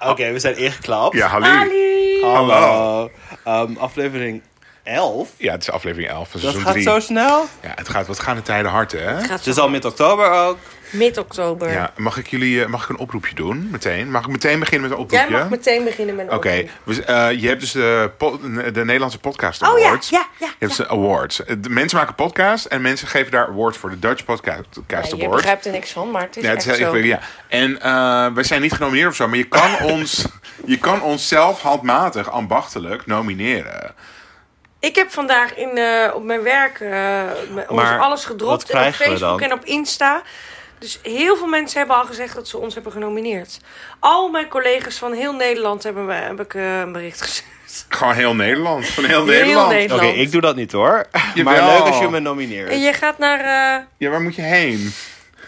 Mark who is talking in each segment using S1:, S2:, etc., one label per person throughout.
S1: Ah, Oké, we zijn ingeklapt.
S2: Ja, hallo.
S1: Hallo.
S2: Hallo.
S1: Ehm, aflevering 11.
S2: Ja, het is aflevering 11
S1: Dat
S2: van seizoen
S1: gaat
S2: 3.
S1: zo snel.
S2: Ja, het gaat, wat gaan de tijden hard, hè?
S1: Het is al mid-oktober ook.
S3: Mid-oktober.
S2: Ja, mag ik jullie eh, mag ik een oproepje doen meteen? Mag ik meteen beginnen met een
S3: Jij
S2: oproepje?
S3: mag meteen beginnen met een
S2: Oké,
S3: oproep.
S2: we- eh, je hebt dus de, po- de Nederlandse Podcast
S3: Oh ja,
S2: Awards.
S3: ja, ja,
S2: Je hebt de awards. Eh, de Mensen maken podcasts en mensen geven daar awards voor. De Dutch Podcast, podcast
S3: Ja, je
S2: Award.
S3: begrijpt er niks van, maar het is
S2: Ja, het
S3: echt
S2: is heel
S3: zo.
S2: ingewikkeld, ja. En eh, wij zijn niet genomineerd of zo, maar je kan ons, je kan ons zelf handmatig, ambachtelijk nomineren.
S3: Ik heb vandaag in, eh, op mijn werk eh, m- ons
S1: Maar
S3: alles
S1: wat
S3: gedropt. En op
S1: krijgen we
S3: Facebook
S1: dan?
S3: en op Insta. Dus heel veel mensen hebben al gezegd dat ze ons hebben genomineerd. Al mijn collega's van heel Nederland hebben me, heb ik eh, een bericht gestuurd.
S2: Gewoon heel Nederland. Van heel Nederland.
S3: Nederland.
S1: Oké, ik doe dat niet hoor. Maar
S2: Jawel.
S1: leuk als je me nomineert.
S3: En je gaat naar... eh,
S2: Ja, waar moet je heen?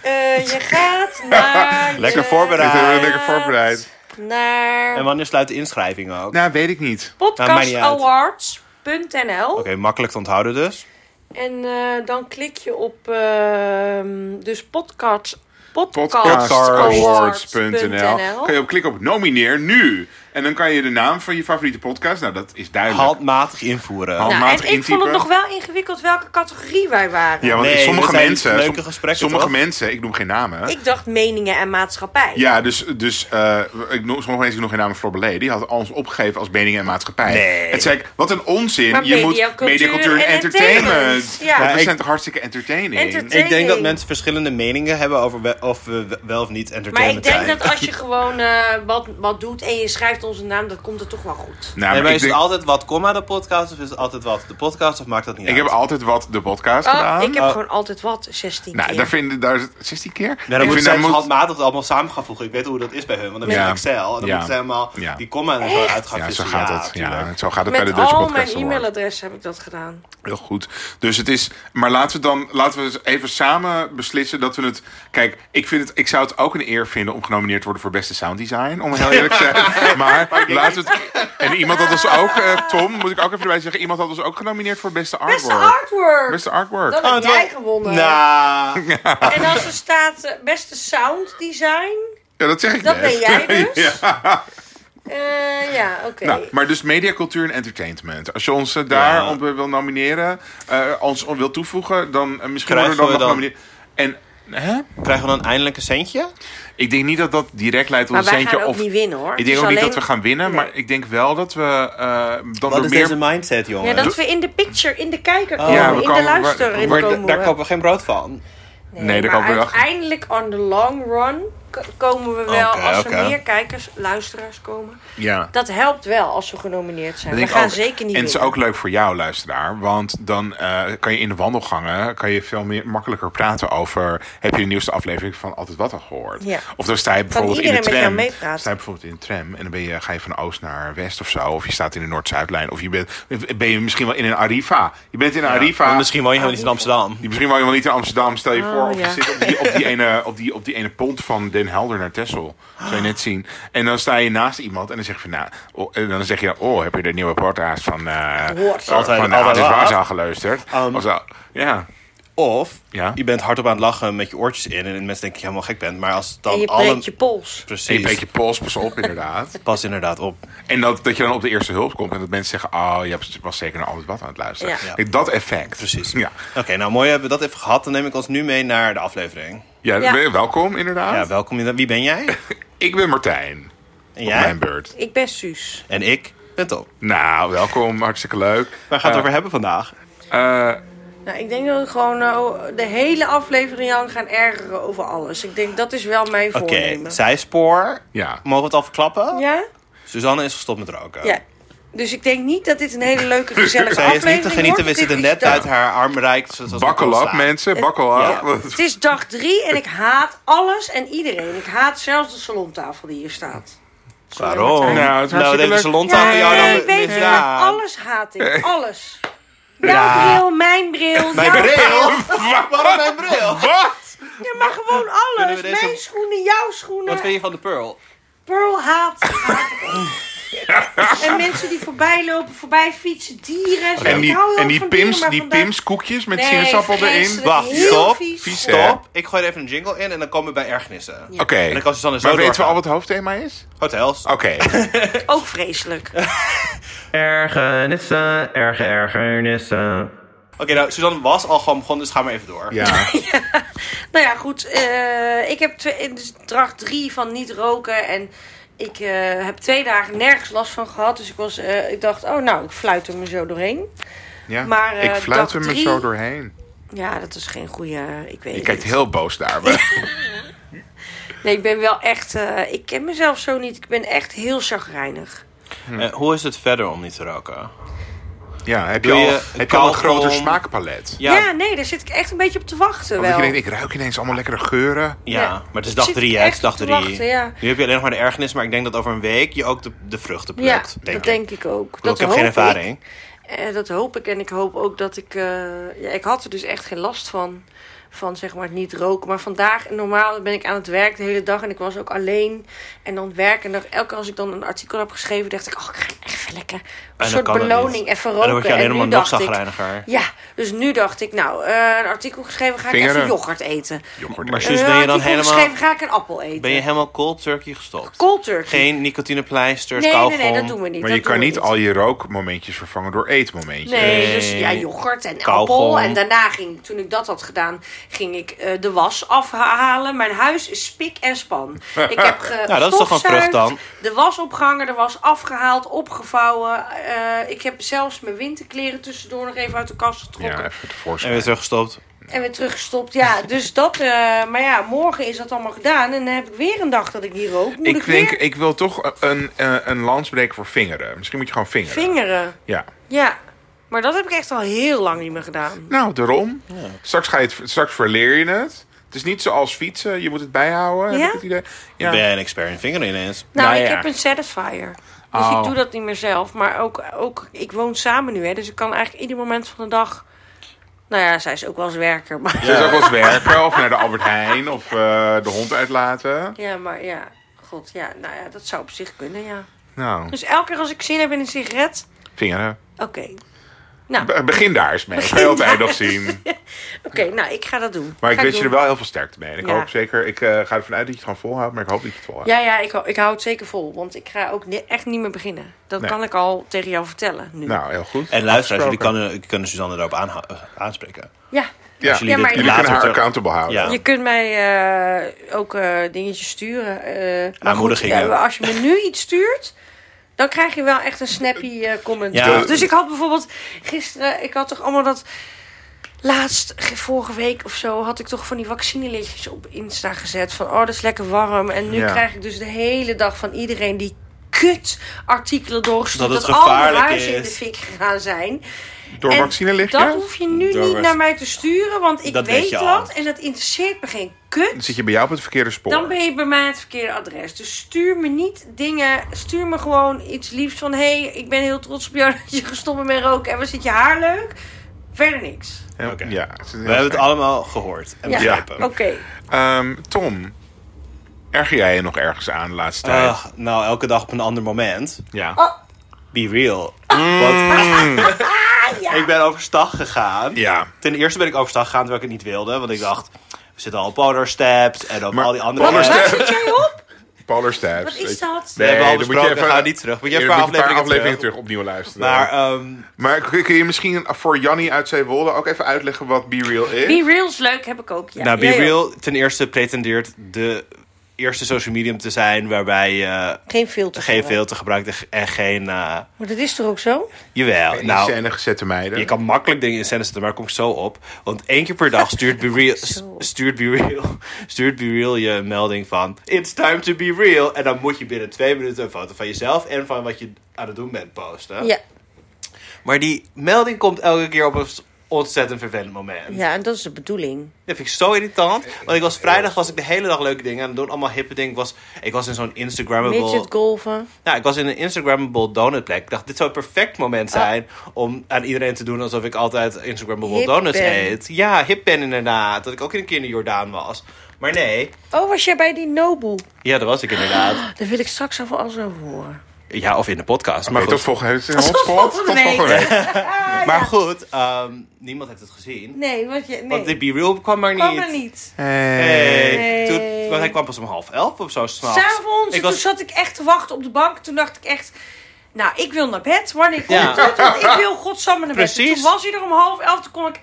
S3: eh, je gaat naar...
S1: Lekker
S3: je
S1: voorbereid.
S2: Ik ben
S3: gaat
S2: weer lekker voorbereid.
S1: En
S3: Naar
S1: wanneer sluit de inschrijving ook? Oké,
S2: Nou, weet ik niet.
S1: Nou, maakt niet uit.
S3: podcastawards.nl
S1: makkelijk te onthouden dus.
S3: En eh, dan klik je op ehm, dus podcast,
S2: Podcastawards.nl.
S3: podcastawards.nl.
S2: Kun je op klikken op nomineer nu. En dan kan je de naam van je favoriete podcast. Nou, dat is duidelijk.
S1: Handmatig invoeren.
S2: Hand-
S3: Nou,
S2: handmatig
S3: en ik vond het
S2: intypen.
S3: nog wel ingewikkeld welke categorie wij waren.
S2: Ja, want
S1: Nee,
S2: sommige
S1: dit zijn
S2: mensen.
S1: leuke
S2: som-
S1: gesprekken,
S2: sommige
S1: toch?
S2: mensen, ik noem geen namen.
S3: Ik dacht meningen en maatschappij.
S2: Ja, dus, dus eh, ik noem, sommige mensen ik nog geen naam Flor Belé. Die had ons opgegeven als meningen en maatschappij.
S1: Nee.
S2: Het zei ik, wat een onzin.
S3: Maar
S2: je moet
S3: mediacultuur
S2: mediacultuur en
S3: en
S2: entertainment.
S3: entertainment. Ja.
S2: Dat
S1: Ja, ik-
S2: zijn toch hartstikke entertaining? Nou,
S3: Entertain-
S1: Ik denk dat
S3: Training.
S1: mensen verschillende meningen hebben over we- of we we- wel of niet
S3: Maar ik
S1: entertainment
S3: denk
S1: zijn.
S3: dat als je gewoon eh, wat, wat doet en je schrijft onze naam, dan komt het toch wel goed.
S2: Nou,
S1: Nee,
S2: maar
S1: maar
S2: ik,
S1: is het
S2: denk-
S1: altijd wat, comma de podcast? Of is het altijd wat, de podcast? Of maakt dat niet
S2: ik
S1: uit?
S2: heb altijd wat de podcast
S3: Oh,
S2: gedaan.
S3: ik heb
S1: Oh.
S3: gewoon altijd wat, 16
S2: eh, Nou,
S3: keer.
S2: daar vind daar is het 16 keer.
S1: Ja, dan
S2: ik
S1: moeten
S2: vind
S1: ze
S2: daar
S1: moet...
S2: moet,
S1: handmatig het allemaal samen gaan voegen. Ik weet hoe dat is bij hun, want dan ben je
S2: Ja.
S1: in Excel. En dan
S2: Ja.
S1: moeten ze helemaal
S2: Ja.
S1: die comma en zo uit gaan
S2: ja, zo
S1: vissen.
S2: gaat
S1: Ja,
S2: het. Ja,
S1: tuurlijk.
S2: zo gaat het bij
S3: Met
S2: de Dutch
S3: al mijn
S2: Podcast Award.
S3: e-mailadres heb ik dat gedaan.
S2: Heel goed. Dus het is. Maar laten we dan laten we eens even samen beslissen dat we het. Kijk, ik, vind het, ik zou het ook een eer vinden om genomineerd te worden voor beste sounddesign. Om heel eerlijk te zijn. Maar laten we het. En iemand had ons ook, eh, Tom, moet ik ook even erbij zeggen. Iemand had ons ook genomineerd voor beste artwork.
S3: Beste artwork!
S2: Beste artwork.
S3: Dan
S1: Oh,
S3: heb
S1: het
S3: jij
S1: wa-
S3: gewonnen.
S1: Nou,
S3: En als er staat eh, beste sound design,
S2: Ja, dat zeg ik
S3: dat
S2: net.
S3: ben jij dus.
S2: Ja.
S3: Eh, ja, oké.
S2: Nou, maar dus media, cultuur en entertainment. Als je ons eh, daar
S1: Ja.
S2: op eh, wil nomineren, eh, ons op wil toevoegen, dan eh, misschien
S1: Krijgen
S2: worden we
S1: we
S2: dan nog
S1: dan-
S2: genomineerd. En hè?
S1: krijgen we dan eindelijk een centje?
S2: ik denk niet dat dat direct leidt tot
S3: Maar
S2: een
S3: wij
S2: centje.
S3: gaan ook
S2: of...
S3: niet winnen hoor.
S2: Ik denk
S3: Dus
S2: ook niet
S3: alleen-
S2: dat we gaan winnen,
S3: Nee.
S2: maar ik denk wel dat we eh, dan
S1: Wat
S2: weer
S1: is
S2: meer...
S1: deze mindset, jongen?
S3: Ja, dat we in de picture, in de kijker komen,
S1: Ja, we
S3: in
S2: komen-
S3: de luisterer in
S2: maar
S1: maar
S2: d-
S3: komen.
S1: daar
S3: we.
S1: kopen we geen brood van.
S3: Nee,
S2: Nee, daar
S3: maar
S2: komen we achter.
S3: uiteindelijk on the long run k- komen we wel,
S1: Oké,
S3: als er
S1: oké.
S3: meer kijkers, luisteraars komen.
S2: Ja.
S3: Dat helpt wel als we genomineerd zijn.
S2: Ik
S3: We
S2: denk
S3: gaan
S2: ook-
S3: zeker niet
S2: En het is
S3: winnen.
S2: ook leuk voor jou, luisteraar. Want dan eh, kan je in de wandelgangen kan je veel meer, makkelijker praten over... heb je de nieuwste aflevering van Altijd Wat al gehoord?
S3: Ja.
S2: Of dan sta je bijvoorbeeld in de
S3: iedereen met
S2: tram.
S3: jou meepraten.
S2: Sta je bijvoorbeeld in de tram en dan ben je, ga je van oost naar west of zo. Of je staat in de Noord-Zuidlijn. Of je bent, ben je misschien wel in een Arriva. Je bent in een
S1: Maar
S2: Arriva.
S1: Misschien woon je helemaal niet in
S3: Ah,
S1: Amsterdam.
S2: Die Misschien woon je wel niet in Amsterdam. Stel je
S3: Oh,
S2: voor, of je
S3: ja.
S2: zit op die, op, die ene, op, die, op die ene pont van Den Helder naar Texel. Zou je net zien. En dan sta je naast iemand en dan zeg je van... Nou, oh, en dan zeg je, oh, heb je de nieuwe podcast van... eh
S3: Gehoord.
S2: van
S1: Altijd-
S2: van
S1: altijd
S2: Altijd
S1: waar.
S2: Waza geluisterd?
S1: Um,
S2: Of zo. Ja.
S1: Of
S2: Ja.
S1: je bent hardop aan het lachen met je oortjes in en mensen denken dat je helemaal gek bent. Maar als het dan
S3: En je
S1: alle...
S3: breekt je pols.
S2: En je
S1: Precies,
S2: breekt je pols, pas op, inderdaad.
S1: pas inderdaad op.
S2: En dat, dat je dan op de eerste hulp komt en dat mensen zeggen... Oh, je was zeker naar Altijd Wat aan het luisteren.
S3: Ja.
S2: Kijk, Dat effect.
S1: Precies.
S2: Ja,
S1: Oké, nou mooi hebben we dat even gehad. Dan neem ik ons nu mee naar de aflevering.
S2: ja,
S3: Ja.
S2: we- welkom inderdaad.
S1: Ja, welkom. in de- Wie ben jij?
S2: Ik ben Martijn.
S1: En
S2: Op mijn
S1: jij?
S2: beurt.
S3: Ik ben Suus.
S1: En ik ben Tom.
S2: Nou, welkom. Hartstikke leuk.
S1: Waar gaan we het over hebben vandaag?
S2: Eh,
S3: Nou, ik denk dat we gewoon eh, de hele aflevering aan gaan ergeren over alles. Ik denk dat is wel mijn
S1: Oké,
S3: voornemen.
S1: zijspoor.
S2: ja.
S1: Mogen we het al verklappen?
S3: Ja?
S1: Suzanne is gestopt met roken.
S3: Ja. Dus ik denk niet dat dit een hele leuke, gezellige
S1: Zij is
S3: aflevering
S1: niet te genieten. We
S3: wordt.
S1: zitten
S3: Dit is
S1: net
S3: dag-
S1: uit haar arm bereikt. zoals we
S2: Bakkel
S1: kon
S2: op,
S1: staan.
S2: mensen. Bakkel
S1: Ja.
S2: op.
S3: Het is dag drie en ik haat alles en iedereen. Ik haat zelfs de salontafel die hier staat. Sorry,
S1: Waarom?
S2: Nou, het
S3: Martijn.
S1: Nou,
S2: is
S1: nou
S2: hartstikke
S1: deze
S2: leuk.
S1: salontafel
S2: Nee,
S1: jou dan...
S3: weet je,
S1: Ja.
S3: maar alles haat ik. Alles. Jouw
S1: Ja.
S3: bril, mijn bril.
S1: Mijn
S3: jouw
S1: bril? Waarom mijn bril?
S2: Wat?
S3: Ja, maar gewoon
S1: Kunnen
S3: alles.
S1: we deze-
S3: Mijn schoenen, jouw
S1: Wat
S3: schoenen.
S1: vind je van de Pearl?
S3: Pearl haat. haat ik ook. En mensen die voorbij lopen, voorbij fietsen, dieren. Zo.
S2: En
S3: Ik
S2: die,
S3: hou heel
S2: en
S3: erg
S2: die
S3: van dieren,
S2: pims,
S3: maar
S2: die
S3: vandaag-
S2: pims koekjes met
S3: Nee,
S2: sinaasappel erin.
S3: vreselijk.
S1: Wacht,
S3: Heel
S1: stop.
S3: vies.
S1: Stop. Ik gooi er even een jingle in en dan komen we bij ergernissen.
S2: Oké.
S1: En dan kan Suzanne zo
S2: Maar weten we Oh.
S1: doorgaan.
S2: al wat het hoofdthema is?
S1: Hotels.
S2: Oké.
S3: Ook vreselijk.
S4: Ergernissen, erge ergernissen.
S1: Oké, nou, Suzanne was al gewoon begonnen, dus ga maar even door.
S2: Ja.
S3: Nou ja, goed. eh, ik heb twee, dus dracht drie van niet roken. En ik eh, heb twee dagen nergens last van gehad. Dus ik, was, eh, ik dacht, oh nou, ik fluit er me zo doorheen.
S2: ja.
S3: Maar, eh,
S2: ik fluit
S3: dag
S2: er me
S3: drie-
S2: zo doorheen.
S3: Ja, dat is geen goede. Ik weet
S2: Je
S3: het
S2: kijkt
S3: niet.
S2: heel boos daar. maar-
S3: Nee, ik ben wel echt. eh, ik ken mezelf zo niet. Ik ben echt heel chagrijnig.
S1: Eh, hoe is het verder om niet te roken?
S2: Ja, heb je,
S1: Doe
S2: al,
S1: je
S2: heb je al een
S1: kauwgom?
S2: groter smaakpalet?
S3: Ja. nee, daar zit ik echt een beetje op te wachten.
S2: Omdat
S3: Wel.
S2: je denkt, ik ruik ineens allemaal lekkere geuren.
S1: Ja,
S3: Ja.
S1: maar het is
S3: Ik
S1: dag
S3: zit
S1: drie,
S3: er
S1: hè? Het
S3: echt
S1: is dag
S3: op
S1: drie.
S3: te wachten, ja.
S1: Nu heb je alleen nog maar de ergernis, maar ik denk dat over een week je ook de, de vruchten plukt.
S3: ja,
S1: denk
S3: dat
S1: ik.
S3: denk ik ook.
S1: Ik bedoel,
S3: Dat
S1: ik heb
S3: hoop
S1: geen ervaring.
S3: Eh, dat hoop ik. En ik hoop ook dat ik. eh, ja, ik had er dus echt geen last van. Van zeg maar het niet roken. Maar vandaag, normaal ben ik aan het werk de hele dag. En ik was ook alleen. En dan werken. En dan, elke keer als ik dan een artikel heb geschreven, dacht ik: Oh, ik ga even lekker. Een
S1: dan
S3: soort
S1: kan het
S3: beloning
S1: niet.
S3: even
S1: En dan
S3: roken.
S1: word je alleen
S3: en
S1: maar
S3: nu
S1: nog
S3: dacht ik-
S1: chagrijniger.
S3: Ja, dus nu dacht ik: Nou, eh, een artikel geschreven, ga ik
S2: Vingeren.
S3: even yoghurt eten.
S2: Yoghurt.
S1: Maar
S3: een
S1: Suus, ben je dan
S3: artikel
S1: helemaal,
S3: geschreven, ga ik een appel eten.
S1: ben je helemaal cold turkey gestopt?
S3: Cold turkey.
S1: Geen nicotinepleisters,
S3: nee, nee,
S1: kauwgom?
S3: nee, dat doen we niet.
S2: Maar je
S3: dat doen
S2: kan
S3: we
S2: niet al je rookmomentjes vervangen door eetmomentjes.
S3: Nee,
S1: Nee.
S3: dus ja, yoghurt en
S1: Kauwgom.
S3: appel. En daarna ging, toen ik dat had gedaan, ging ik eh, de was afhalen. Mijn huis is spik en span. Ik heb ge-
S1: Nou, dat is toch een
S3: stofzuigd,
S1: vrucht dan?
S3: De was opgehangen, de was afgehaald, opgevouwen. Eh, ik heb zelfs mijn winterkleren tussendoor nog even uit de kast getrokken.
S2: Ja, even
S1: En
S2: tevoorschijn.
S1: weer teruggestopt.
S3: En weer teruggestopt. Ja, dus dat. eh, maar ja, morgen is dat allemaal gedaan. En dan heb ik weer een dag dat ik hier rook. Moet ik,
S2: Ik denk,
S3: weer
S2: ik wil toch een, eh, een lans breken voor vingeren. Misschien moet je gewoon vingeren.
S3: vingeren.
S2: Ja.
S3: Ja, maar dat heb ik echt al heel lang niet meer gedaan.
S2: Nou, daarom. Straks, ga je het, straks verleer je het. Het is niet zoals fietsen. Je moet het bijhouden. Heb
S3: Ja?
S2: ik het idee.
S1: Ik
S2: Ja.
S1: Ben een expert in vingeren ineens?
S3: Nou,
S2: Nou
S3: ik
S2: ja.
S3: heb een Satisfier. Dus
S2: Oh.
S3: ik doe dat niet meer zelf. Maar ook, ook, ik woon samen nu, hè. Dus ik kan eigenlijk ieder moment van de dag... Nou ja, zij is ook wel eens werker. Maar...
S2: Dus ook wel eens werken. Of naar de Albert Heijn. Of eh, de hond uitlaten.
S3: Ja, maar ja. God, ja. Nou ja, dat zou op zich kunnen, ja.
S2: Nou,
S3: Dus elke keer als ik zin heb in een sigaret...
S2: vingeren.
S3: Oké. Nou, oké.
S2: Be- begin daar eens mee. Ga je altijd nog zien.
S3: nou, ik ga dat doen.
S2: Maar ik
S3: Ga
S2: wens je er
S3: doen.
S2: wel heel veel sterkte mee. En ik
S3: Ja.
S2: hoop zeker, ik eh, ga ervan uit dat je het gewoon volhoudt, maar ik hoop dat je het volhoudt.
S3: Ja, ja, ik, hou- ik hou het zeker vol. Want ik ga ook ni- echt niet meer beginnen. Dat
S2: Nee.
S3: kan ik al tegen jou vertellen nu.
S2: Nou, heel goed.
S1: En luisteraars, jullie
S2: Afgesproken.
S1: kunnen, jullie kunnen Suzanne daarop aanha- eh, aanspreken.
S3: Ja.
S2: Ja,
S1: als jullie
S3: Ja, maar-
S1: dit
S2: jullie
S1: later
S2: kunnen haar
S1: terug-
S2: accountable houden.
S1: Ja.
S3: Je kunt mij eh, ook eh, dingetjes sturen. eh, maar goed,
S1: Aanmoedigingen.
S3: ja, maar als je me nu iets stuurt, dan krijg je wel echt een snappy eh, comment.
S1: Ja.
S3: terug. Dus ik had bijvoorbeeld gisteren, ik had toch allemaal dat... Laatst, ge- vorige week of zo, had ik toch van die vaccinelichtjes op Insta gezet. Van, oh, dat is lekker warm. En nu
S2: Ja.
S3: krijg ik dus de hele dag van iedereen die kut artikelen doorgestuurd.
S1: Dat het
S3: al mijn
S1: gevaarlijk
S3: huizen in de
S1: is.
S3: fik gaan zijn.
S2: Door
S3: En Dat
S2: vaccinelichtjes?
S3: hoef je nu
S1: Door
S3: niet
S1: vac-
S3: naar mij te sturen, want ik
S1: Dat weet
S3: weet
S1: je
S3: dat.
S1: al.
S3: En dat interesseert me geen
S2: Dan
S3: kut.
S2: zit je bij jou op het verkeerde spoor.
S3: Dan ben je bij mij het verkeerde adres. Dus stuur me niet dingen. Stuur me gewoon iets liefs van... hé, hey, ik ben heel trots op jou dat je gestopt bent met roken. En wat zit je haar leuk? Verder niks.
S2: Heel-
S1: Oké.
S2: Ja, het is heel
S1: We hebben het
S2: fijn.
S1: allemaal gehoord en
S3: Ja.
S1: begrepen.
S3: Oké.
S2: Ehm, Tom, erger jij je nog ergens aan de laatste tijd?
S1: Ugh, nou, elke dag op een ander moment.
S2: ja.
S3: Oh,
S1: Be real. Want ik ben overstag gegaan.
S2: Ja.
S1: Ten eerste ben ik overstag gegaan terwijl ik het niet wilde. Want ik dacht, we zitten al op Polar Steps en op
S2: Maar
S1: al die andere
S2: Polar
S1: apps.
S3: waar
S2: Steps.
S3: zit jij op?
S2: Polar Steps.
S3: Wat
S2: weet je.
S3: is dat?
S1: We hebben al
S2: dan moet je
S1: besproken,
S2: even-
S1: ga niet terug. Moet je even
S2: dan
S1: een
S2: moet een paar
S1: afleveringen
S2: afleveringen
S1: terug.
S2: terug opnieuw luisteren.
S1: Maar
S2: Maar,
S1: ehm,
S2: kun kun je misschien voor Jannie uit Zeewolde ook even uitleggen wat Be Real is?
S3: Be Real is leuk, heb ik ook. Ja.
S1: nou, Be
S3: Ja, joh.
S1: Real ten eerste pretendeert de eerste social medium te zijn... waarbij je
S3: Geen filter.
S1: geen filter gebruikt en geen... eh,
S3: Maar dat is toch ook zo?
S1: jawel,
S2: In
S1: nou...
S2: scène gezette meiden.
S1: Je kan makkelijk dingen in scène zetten, maar daar kom ik zo op. Want één keer per dag stuurt Be Real,
S3: Zo.
S1: stuurt Be Real, stuurt Be Real je een melding van... It's time to be real. En dan moet je binnen twee minuten een foto van jezelf en van wat je aan het doen bent posten.
S3: Ja.
S1: Maar die melding komt elke keer op een ontzettend vervelend moment.
S3: ja, en dat is de bedoeling.
S1: Dat vind ik zo irritant. Want ik was vrijdag was ik de hele dag leuke dingen aan het doen. Allemaal hippe dingen. Ik was, ik was in zo'n Instagrammable...
S3: Midget golven.
S1: Nou, ik was in een Instagrammable donutplek. Ik dacht, dit zou het perfect moment
S3: Ah.
S1: zijn om aan iedereen te doen alsof ik altijd Instagrammable
S3: Hip
S1: donuts
S3: ben.
S1: eet. Ja, hip ben inderdaad. Dat ik ook een keer in de Jordaan was. Maar nee,
S3: Oh, was jij bij die Nobu? Ah,
S1: ja, dat was ik inderdaad.
S3: Daar wil ik straks over al zo horen.
S1: Ja, of in de podcast.
S2: Maar
S1: maar
S2: tot
S1: goed,
S2: volgende week. Tot volgende week.
S1: maar goed ehm, niemand heeft het gezien.
S3: Ah, Nee, want je. Nee,
S1: Want de B-Real kwam maar
S3: kwam
S1: niet.
S3: er niet.
S1: Nee.
S3: Nee.
S1: Toen, want hij kwam pas om half elf of zo. 's nachts.
S3: S'avonds,
S1: Ik
S3: toen
S1: was
S3: zat ik echt te wachten op de bank. Toen dacht ik echt, nou, ik wil naar bed. Wanneer komt
S1: Ja.
S3: het goed? Want ik wil godsamme naar bed.
S1: Precies.
S3: Toen was hij er om half elf, toen kon ik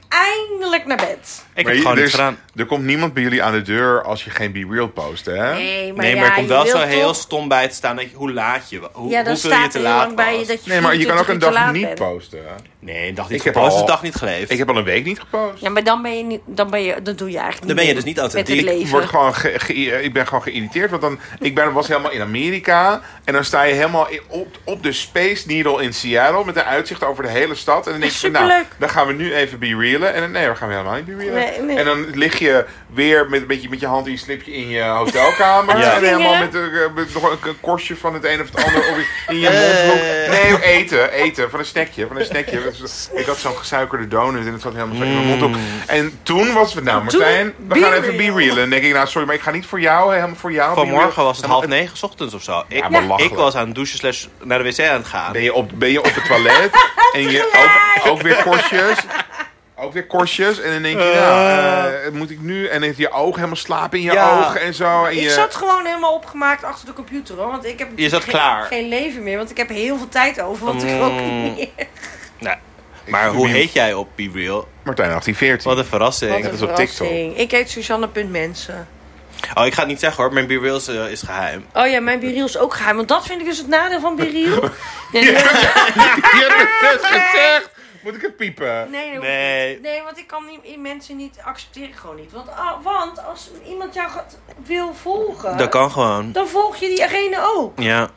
S3: eindelijk naar bed.
S1: Ik heb
S2: Maar je-
S1: gewoon
S2: er
S1: niet
S2: is-
S1: gedaan.
S2: Er komt niemand bij jullie aan de deur als je geen Be Real post, hè?
S3: Nee, maar,
S1: nee,
S3: ja,
S1: maar er komt wel
S3: je
S1: zo
S3: wilt
S1: heel
S3: toch-
S1: stom bij te staan dat je, hoe laat je, hoe,
S3: Ja, dan
S1: hoeveel je
S3: staat
S1: te
S3: er heel lang
S1: laat
S3: bij je
S1: was.
S3: dat je
S2: Nee, maar je kan ook
S3: 24
S2: een
S3: uur te
S2: dag
S3: laat
S2: niet
S3: bent.
S2: posten.
S1: Nee, een dag niet
S2: Ik heb
S1: gepost,
S2: al-
S1: een dag niet geleefd.
S2: Ik heb al een week niet gepost.
S3: Ja, maar dan ben je niet, dan ben je, dat doe je eigenlijk
S1: Dan
S3: niet
S1: ben je
S3: mee
S1: dus niet
S3: Met
S1: authentiek.
S3: het
S2: Ik,
S3: leven.
S2: word gewoon ge- ge- eh, ik ben gewoon geïrriteerd. Want dan, ik ben, was helemaal in Amerika. En dan sta je helemaal in- op, op de Space Needle in Seattle. Met een uitzicht over de hele stad. En dan denk je, van, nou,
S3: Superleuk.
S2: dan gaan we nu even be realen. En dan, nee, we gaan helemaal niet be realen.
S3: Nee, nee.
S2: En dan lig je weer met, met, je, met je hand in je slipje in je hotelkamer.
S1: Ja.
S2: En helemaal met,
S3: Vingeren.
S2: eh, met nog een, een korstje van het een of het ander. Of in je
S1: Eh.
S2: mond. Nee, oh, eten, eten. Van een snackje, van een snackje. Dat is- Ik had zo'n gesuikerde donut en het zat helemaal zo in mijn
S1: Mm.
S2: mond op. En toen was het, nou Martijn, we
S3: be
S2: gaan even be
S3: real.
S2: real. En dan denk ik, nou sorry, maar ik ga niet voor jou, helemaal voor jou. be
S1: Vanmorgen
S2: real.
S1: was het half negen 's ochtends of zo. Ik,
S2: maar lachelijk.
S1: ik was aan het douchen slash naar de wc aan het gaan.
S2: Ben je op, ben je op het toilet en je ook, ook weer korstjes. Ook weer korstjes. En dan denk je, nou, eh, moet ik nu? En dan heeft je oog helemaal slapen in je
S1: Ja.
S2: ogen en zo. En
S3: Ik
S2: je,
S3: zat gewoon helemaal opgemaakt achter de computer hoor. Want ik heb
S1: Je zat
S3: geen,
S1: klaar.
S3: geen leven meer. Want ik heb heel veel tijd over. Want ik ook
S1: Mm.
S3: niet.
S1: Nou, maar hoe heet jij op Be Real?
S2: Martijn, 1814.
S1: Wat een verrassing.
S2: dat is op TikTok.
S3: verrassing. Ik heet Suzanne.mensen.
S1: Oh, ik ga het niet zeggen hoor. Mijn Be Real is, eh, is geheim.
S3: Oh ja, mijn Biriel is ook geheim. Want dat vind ik dus het nadeel van Biriel. Nee, nee,
S2: Je hebt het gezegd! Moet ik het piepen?
S3: nee, dat hoeft
S1: Nee.
S3: niet. nee, want ik kan die- die mensen niet accepteren. Gewoon niet. Want, ah, want als iemand jou gaat, wil volgen,
S1: Dat kan gewoon.
S3: dan volg je diegene ook.
S1: Ja.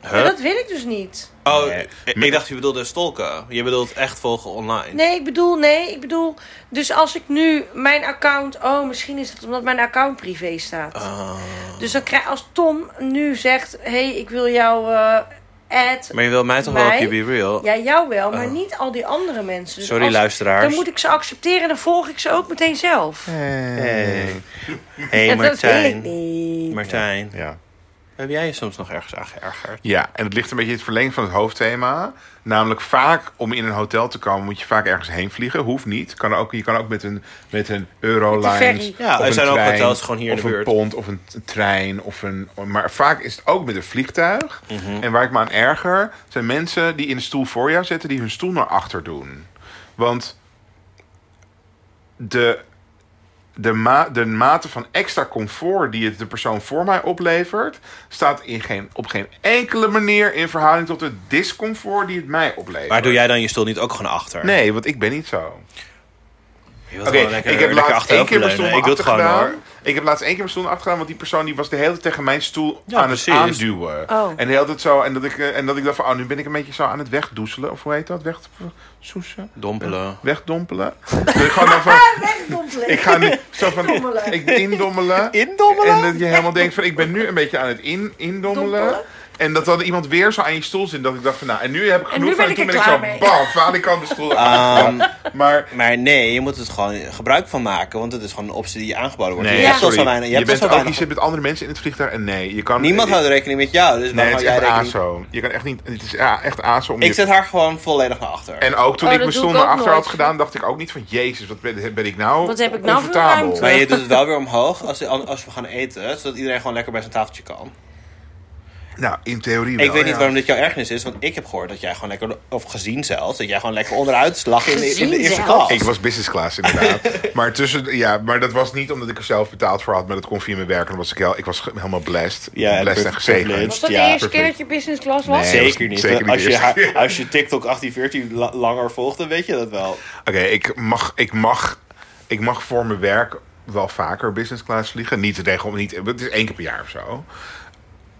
S3: En
S1: Huh?
S3: dat wil ik dus niet.
S1: Oh,
S2: Nee.
S1: ik- ik dacht je bedoelde stalken. Je bedoelt echt volgen online.
S3: Nee, ik bedoel, nee, ik bedoel. Dus als ik nu mijn account. Oh, misschien is het omdat mijn account privé staat.
S1: Ah.
S3: Dus dan krijg als Tom nu zegt: hé, hey, ik wil jou eh ad.
S1: Maar je wil mij toch wel op je
S3: Mij?
S1: Be Real?
S3: Ja, jou wel, maar
S1: Oh.
S3: niet al die andere mensen. Dus
S1: Sorry
S3: als-
S1: luisteraars.
S3: Dan moet ik ze accepteren en dan volg ik ze ook meteen zelf.
S2: Eh,
S1: Hey, hey
S3: Ja, dat wil ik
S1: Martijn.
S3: niet.
S1: Martijn,
S2: Ja.
S1: heb jij je soms nog ergens aan geërgerd?
S2: Ja, en het ligt een beetje in het verlengde van het hoofdthema. Namelijk vaak om in een hotel te komen moet je vaak ergens heen vliegen. Hoeft niet. Kan ook, je kan ook met een, met een Eurolines
S3: ferry.
S1: Ja,
S2: of
S1: er
S2: een
S1: zijn ook
S2: trein,
S1: hotels gewoon hier in
S2: of
S1: de buurt.
S2: een pont of een t- trein. Of een, maar vaak is het ook met een vliegtuig.
S1: Mhm.
S2: En waar ik me aan erger zijn mensen die in de stoel voor jou zitten... die hun stoel naar achter doen. Want de, de, ma de mate van extra comfort die het de persoon voor mij oplevert, staat in geen, op geen enkele manier in verhouding tot het discomfort die het mij oplevert.
S1: Maar doe jij dan je stoel niet ook gewoon achter?
S2: Nee, want ik ben niet zo.
S1: Je wilt
S2: Oké,
S1: gewoon lekker-
S2: ik heb
S1: lekker
S2: laatst één keer mijn
S1: achteroverleunen.
S2: stoel
S1: Ik doe het
S2: achter
S1: gewoon
S2: gedaan.
S1: hoor.
S2: Ik heb laatst één keer mijn stoel achter gedaan, want die persoon die was de hele tijd tegen mijn stoel
S1: Ja,
S2: aan
S1: precies.
S2: het aanduwen.
S3: Oh.
S2: En de hele tijd zo, en dat ik, eh, en dat ik dacht van, oh, nu ben ik een beetje zo aan het wegdoezelen, of hoe heet dat? Weg, soesen?
S1: Dompelen.
S2: Wegdompelen? Dus ik gewoon dan van, ik ga nu zo van,
S3: Indommelen.
S2: ik indommelen.
S1: Indommelen?
S2: En dat je helemaal denkt van, ik ben nu een beetje aan het in, indommelen.
S3: Dompelen.
S2: En dat dan iemand weer zo aan je stoel zit, dat ik dacht van, nou, en nu heb ik genoeg
S3: nu
S2: van,
S3: ben
S2: en
S3: ik
S2: toen
S3: er
S2: ben ik
S3: klaar
S2: zo,
S3: mee.
S2: baf, aan de kant de stoel.
S1: Ehm,
S2: maar
S1: maar nee, je moet het gewoon gebruik van maken, want het is gewoon een optie die je aangeboden wordt.
S2: Nee,
S1: je
S3: Ja.
S1: hebt al
S2: sorry.
S1: zo weinig. Je,
S2: Je,
S1: hebt al
S2: bent
S1: zo
S2: ook,
S1: weinig.
S2: je zit met andere mensen in het vliegtuig en nee, je kan...
S1: Niemand houdt rekening met jou, dus
S2: Nee,
S1: waarom
S2: het
S1: hou
S2: is
S1: jij
S2: echt
S1: rekening?
S2: ASO. Je kan echt niet... Het is ja, echt ASO om
S1: Ik
S2: je-
S1: zet haar gewoon volledig naar achter.
S2: En ook toen
S3: Oh,
S2: ik
S3: dat
S2: mijn
S3: doe
S2: stoel
S3: ik ook
S2: naar achter had
S3: nooit.
S2: gedaan, dacht ik ook niet van... Jezus, wat ben, ben ik nou
S3: Wat heb ik nou voor
S2: oncomfortabel.
S3: ruimte?
S1: maar je doet het wel weer omhoog als, als we gaan eten, zodat iedereen gewoon lekker bij zijn tafeltje kan.
S2: Nou, in theorie wel,
S1: Ik weet niet
S2: ja.
S1: waarom dit jouw ergernis is, want ik heb gehoord dat jij gewoon lekker, of gezien zelfs, dat jij gewoon lekker onderuit lag in de, in de
S3: Gezien
S1: eerste
S3: zelfs?
S1: klas.
S2: Ik was business class inderdaad. maar, tussen, ja, maar dat was niet omdat ik er zelf betaald voor had. Maar dat kon via mijn werk. En dan was ik, heel, ik was ge- helemaal blessed.
S1: Ja,
S2: blessed en
S1: priv-
S2: gezegend.
S1: privilege.
S3: Was dat
S1: Ja,
S3: de eerste keer
S2: perfect.
S3: dat je business class was?
S2: Nee. dat
S1: Zeker
S2: was
S1: niet.
S2: zeker niet
S1: als, je,
S2: eerst.
S1: haar- als je TikTok 1814 la- langer volgt, dan weet je dat wel.
S2: Oké, ik, mag, ik, mag, ik mag voor mijn werk wel vaker business class vliegen. Niet regel, niet, het is één keer per jaar of zo.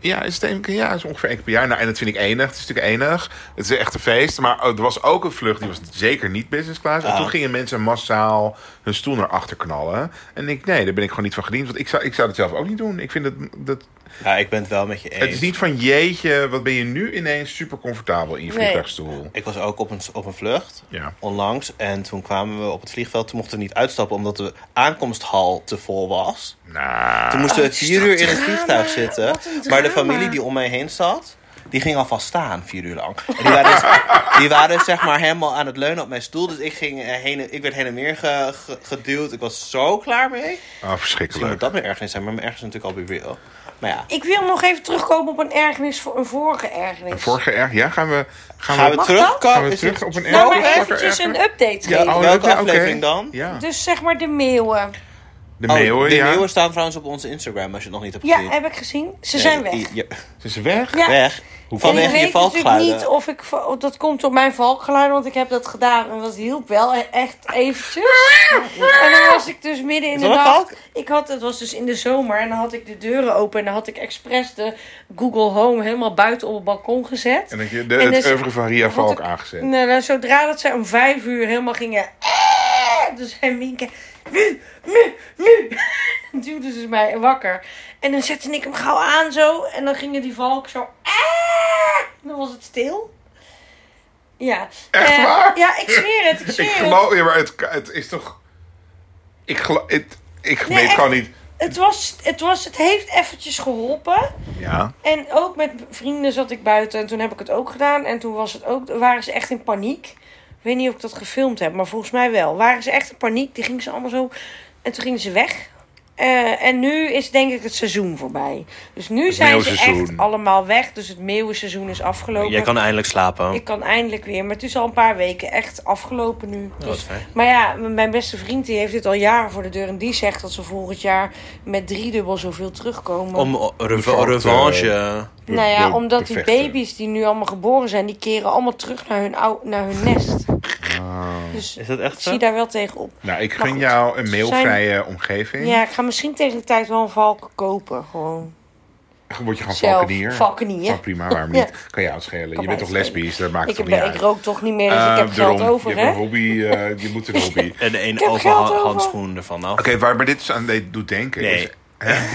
S2: Ja, is het één keer, ja, is ongeveer één keer per jaar. Nou, en dat vind ik enig. Het is natuurlijk enig. Het is echt een feest. Maar er was ook een vlucht, die was zeker niet business class. En
S1: Ah.
S2: toen gingen mensen massaal hun stoel naar achter knallen. En ik, nee, daar ben ik gewoon niet van gediend. Want ik zou, ik zou het zelf ook niet doen. Ik vind dat, dat
S1: Ja, ik ben het wel met je eens.
S2: het is niet van jeetje, wat ben je nu ineens super comfortabel in je
S3: Nee.
S2: vliegtuigstoel.
S1: Ik was ook op een, op een vlucht
S2: Ja.
S1: onlangs en toen kwamen we op het vliegveld. Toen mochten we niet uitstappen omdat de aankomsthal te vol was.
S2: Nou,
S1: Toen moesten we
S3: is
S1: vier
S3: dat
S1: uur in het
S3: drama.
S1: vliegtuig zitten.
S3: Oh, Ah, Wat een
S1: Maar de
S3: drama.
S1: familie die om mij heen zat, die ging alvast staan vier uur lang. En die waren dus, die waren dus, zeg maar helemaal aan het leunen op mijn stoel. Dus ik, ging eh, heen, ik werd heen en weer ge- ge- geduwd. Ik was zo klaar mee.
S2: Oh,
S1: Misschien moet
S2: verschrikkelijk.
S1: dat mijn ergernis zijn, maar mijn ergernis is natuurlijk al real. Maar ja,
S3: Ik wil nog even terugkomen op een ergernis voor een vorige ergernis.
S2: Vorige erg, ja, gaan we, gaan
S1: gaan we
S2: we,
S3: Mag
S1: terugkomen?
S3: dat?
S2: gaan we
S1: Is
S2: terug
S1: het-
S2: op een erg?
S3: Nou,
S2: Vorige
S3: maar
S2: erg?
S3: eventjes een update
S2: Ja,
S3: geven.
S2: oh,
S1: Welke
S2: ja, oké.
S1: aflevering dan?
S2: Ja.
S3: Dus zeg maar de meeuwen.
S2: De
S1: Oh,
S2: meeuwen,
S1: de
S2: ja.
S1: meeuwen staan trouwens op onze Instagram, als je het nog niet hebt
S3: Ja,
S1: gezien.
S3: heb ik gezien. Ze
S1: Nee,
S3: zijn weg.
S1: i- ja,
S2: Ze is weg.
S3: Ja.
S1: Weg.
S3: en
S1: Vanwege
S3: ik
S1: je
S3: weet natuurlijk niet
S1: valkgeluiden.
S3: of ik... va- of Dat komt door mijn valkgeluiden, want ik heb dat gedaan. En dat hielp wel e- echt eventjes. En dan was ik dus midden in
S1: Is
S3: de
S1: dat een
S3: nacht.
S1: valk?
S3: Ik had, het was dus in de zomer. En dan had ik de deuren open. En dan had ik expres de Google Home helemaal buiten op het balkon gezet.
S2: En dat je de,
S3: En
S2: het
S3: dus-
S2: oeuvre van Ria
S3: Wat
S2: Valk
S3: ik-
S2: aangezet.
S3: Nou, nou, zodra dat ze om vijf uur helemaal gingen... "Eh", Dus en winken... Nu, nu, nu. Dan duwden ze mij wakker. En dan zette ik hem gauw aan zo. En dan gingen die valk zo... "Eh", Dan was het stil. Ja.
S2: Echt
S3: Eh,
S2: waar?
S3: Ja, ik zweer het. Ik zweer
S2: Ik
S3: het.
S2: geloof, ja, maar het, het is toch... Ik geloof, het, ik
S3: Nee,
S2: weet
S3: echt.
S2: gewoon niet.
S3: Het, was, het, was, het heeft eventjes geholpen.
S2: Ja.
S3: En ook met vrienden zat ik buiten. En toen heb ik het ook gedaan. En toen was het ook, waren ze echt in paniek. Ik weet niet of ik dat gefilmd heb, maar volgens mij wel. Waren ze echt in paniek. Die gingen ze allemaal zo... En toen gingen ze weg. Eh, en nu is denk ik het seizoen voorbij. Dus nu zijn ze echt
S2: meeuwseizoen.
S3: allemaal weg. Dus het meeuwenseizoen is afgelopen.
S1: Jij kan eindelijk slapen.
S3: Ik kan eindelijk weer. Maar het is al een paar weken echt afgelopen nu.
S1: wat
S3: Dus-
S1: fijn.
S3: maar ja, m- mijn beste vriend die heeft dit al jaren voor de deur. En die zegt dat ze volgend jaar met driedubbel zoveel terugkomen.
S1: Om o- rev-
S2: Valt, eh,
S1: revanche.
S2: Be-
S3: nou ja,
S2: be-
S3: omdat die
S2: bevechten.
S3: baby's die nu allemaal geboren zijn, die keren allemaal terug naar hun, ou- naar hun nest.
S2: Oh.
S3: Dus
S1: Is dat
S3: ik
S1: echt zo?
S3: zie daar wel tegenop.
S2: Nou, ik
S3: Maar
S2: gun
S3: goed,
S2: jou een
S3: ze
S2: mailvrije omgeving.
S3: Ja, ik ga misschien tegen de tijd wel een valk kopen. Gewoon.
S2: Word je gewoon
S3: Zelf,
S2: valkenier?
S3: valkenier.
S2: Oh, prima, waarom
S3: Ja.
S2: niet? Kan je uitschelen.
S3: Kan
S2: Je bent
S3: mij
S2: toch
S3: schelen.
S2: lesbisch? Dat maakt
S3: Ik,
S2: toch
S3: heb,
S2: niet
S3: ik
S2: uit?
S3: rook toch niet meer, dus
S2: Eh,
S3: ik heb geld
S2: daarom.
S3: over,
S2: je hebt
S3: hè?
S2: een hobby, eh, je moet een hobby. Oké,
S1: En de een
S3: heb geld
S1: overha-
S3: over.
S1: handschoen ervan af.
S2: waar me dit dus aan deed- doet denken. Dus
S1: Nee.
S2: is-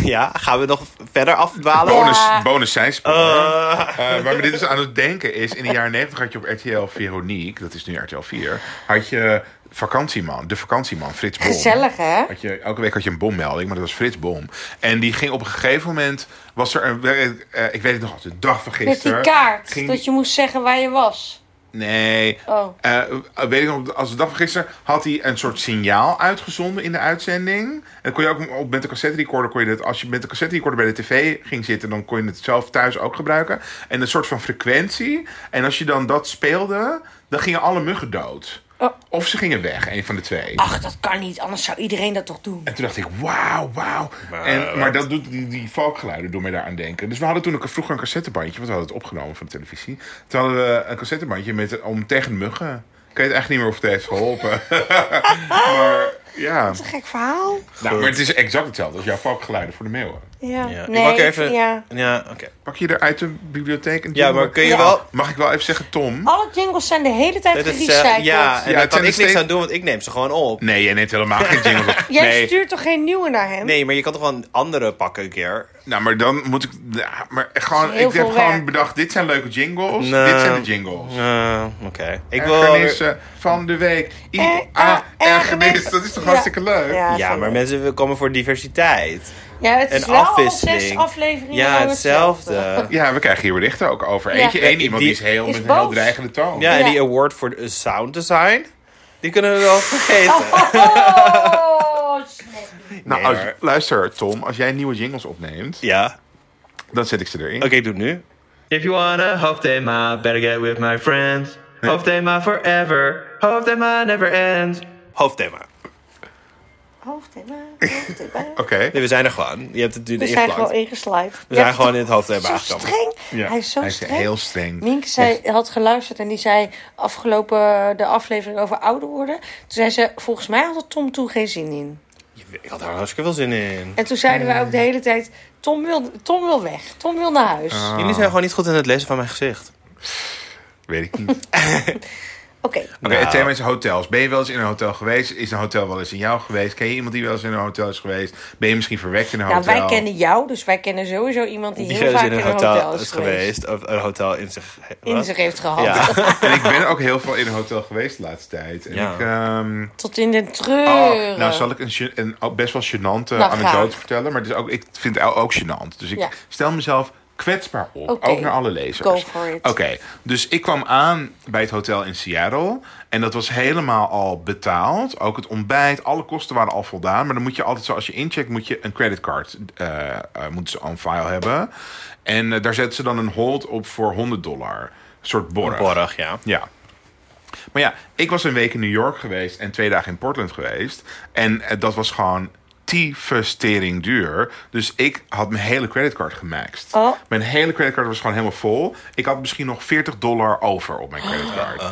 S1: Ja, gaan we nog verder afdwalen?
S3: Ja.
S2: bonus, bonus zijspoor.
S1: Eh,
S2: Eh, waar me dit dus aan het denken is, in de jaren 90 had je op RTL Veronique, dat is nu RTL 4, had je vakantieman, de vakantieman Frits Bom.
S3: Gezellig, hè?
S2: Had je, elke week had je een bommelding, maar dat was Frits Bom. En die ging op een gegeven moment, was er een, eh, ik weet het nog, als de dag van
S3: Met
S2: gisteren.
S3: die kaart.
S2: ging
S3: Dat je moest zeggen waar je was.
S2: Nee.
S3: Oh.
S2: Eh, weet ik nog, als de dag van gisteren had hij een soort signaal uitgezonden in de uitzending. En dan kon je ook op, met de cassette recorder kon je dat, als je met de cassette recorder bij de tv ging zitten, dan kon je het zelf thuis ook gebruiken. En een soort van frequentie. En als je dan dat speelde, dan gingen alle muggen dood.
S3: Oh.
S2: Of ze gingen weg, een van de twee.
S3: Ach, dat kan niet. Anders zou iedereen dat toch doen.
S2: En toen dacht ik, wauw, wauw.
S1: Maar
S2: En- Maar
S1: wat?
S2: dat doet, die, die valkgeluiden doen mij daaraan denken. Dus we hadden toen ook vroeger een cassettebandje, want we hadden het opgenomen van de televisie. Toen hadden we een cassettebandje met, om tegen muggen. Ik weet echt niet meer of het heeft geholpen. maar ja,
S3: Wat een gek verhaal.
S2: nou, maar het is exact hetzelfde als jouw valkgeluiden voor de meeuwen.
S3: Ja.
S1: ja.
S3: Nee,
S1: ik pak even.
S3: ja.
S1: Ja, oké.
S2: Pak je er uit de bibliotheek en
S1: Ja, maar kun je wel.
S2: Mag ik wel even zeggen, Tom?
S3: Alle jingles zijn de hele tijd
S1: Dit is, eh, ja, en
S3: gerecycled.
S2: Ja,
S1: daar
S2: het zijn
S1: kan ik
S2: er
S1: niks
S2: steeds-
S1: aan doen, want ik neem ze gewoon op.
S2: Nee, jij neemt helemaal geen jingle. op.
S3: Jij
S2: nee.
S3: stuurt toch geen nieuwe naar hem?
S1: Nee, maar je kan toch wel een andere pakken een keer?
S2: Nou, maar dan moet ik... ja, maar gewoon,
S3: Heel
S2: ik heb
S3: veel
S2: gewoon
S3: werk.
S2: bedacht, dit zijn leuke jingles.
S1: Nee.
S2: Dit zijn de jingles.
S1: Eh, oké. Ik wil...
S2: Ergernissen van de week.
S3: Eh,
S2: I-A,
S3: eh,
S2: ergernis.
S3: ergernis.
S2: Dat is toch
S3: Ja.
S2: hartstikke leuk?
S1: Ja, maar mensen we komen voor diversiteit.
S3: Ja, het
S1: En
S3: is wel al
S1: afwisseling.
S3: zes afleveringen
S1: Ja,
S3: lang
S1: hetzelfde.
S2: Ja, we krijgen hier berichten ook over.
S3: Ja.
S2: Eentje, één iemand die
S1: Die
S2: is heel,
S3: is
S2: met een heel
S3: boos.
S2: dreigende toon.
S1: Ja, en
S3: Ja.
S1: die award voor de sound design, die kunnen we wel vergeten.
S3: Oh, snap.
S2: Nou,
S1: Nee,
S2: als-
S1: maar-
S2: luister Tom, als jij nieuwe jingles opneemt,
S1: Ja,
S2: dan zet ik ze erin.
S1: oké, ik doe het nu.
S5: If you wanna Hoofdthema, better get with my friends. Hoofdthema forever. Hoofdthema never ends.
S1: Hoofdthema.
S3: hoofdthema, hoofdthema.
S2: Oké.
S1: Nee, we zijn er gewoon. Je hebt het nu
S3: We zijn gewoon
S1: ingeplant.
S3: ingeslijpt.
S1: We zijn gewoon in het hoofdthema
S3: Zo
S1: aangekomen.
S3: streng.
S2: Ja.
S3: Hij is zo
S2: Hij is
S3: streng.
S2: heel streng.
S3: Nienke zei, had geluisterd en die zei afgelopen de aflevering over ouder worden. Toen zei ze, volgens mij had er Tom toen geen zin in.
S1: Ik had daar hartstikke veel zin in.
S3: En toen zeiden wij ook de hele tijd, Tom wil, Tom wil weg. Tom wil naar huis.
S1: Jullie zijn gewoon niet goed in het lezen van mijn gezicht.
S2: Weet ik niet. Oké,
S3: Oké,
S2: het thema is hotels. Ben je wel eens in een hotel geweest? Is een hotel wel eens in jou geweest? Ken je iemand die wel eens in een hotel is geweest? Ben je misschien verwekt in een
S3: nou
S2: hotel?
S3: wij kennen jou, dus wij kennen sowieso iemand die,
S1: Die
S3: heel
S1: is
S3: vaak
S1: in een hotel, is
S3: geweest.
S1: geweest. Of een hotel in zich...
S3: In zich heeft gehad.
S1: Ja.
S2: En ik ben ook heel veel in een hotel geweest de laatste tijd. En
S1: Ja.
S2: ik... ehm,
S3: Tot in de treuren.
S2: Oh, nou zal ik een, gen- een al- best wel gênante
S3: Nou,
S2: anekdote
S3: graag.
S2: vertellen. Maar het is ook, ik vind het ook gênant. Dus ik
S3: Ja.
S2: stel mezelf kwetsbaar op.
S3: Oké.
S2: Ook naar alle lezers.
S3: Go for it.
S2: Oké, dus ik kwam aan bij het hotel in Seattle. En dat was helemaal al betaald. Ook het ontbijt, alle kosten waren al voldaan. Maar dan moet je altijd, zo als je incheckt, moet je een creditcard eh eh, moeten ze on file hebben. En eh, daar zetten ze dan een hold op voor 100 dollar. Een soort borg.
S1: Borg, ja.
S2: Ja. Maar ja, ik was een week in New York geweest en twee dagen in Portland geweest. En eh, dat was gewoon tyfustering duur. Dus ik had mijn hele creditcard gemaxt.
S3: Oh.
S2: Mijn hele creditcard was gewoon helemaal vol. Ik had misschien nog 40 dollar over op mijn creditcard.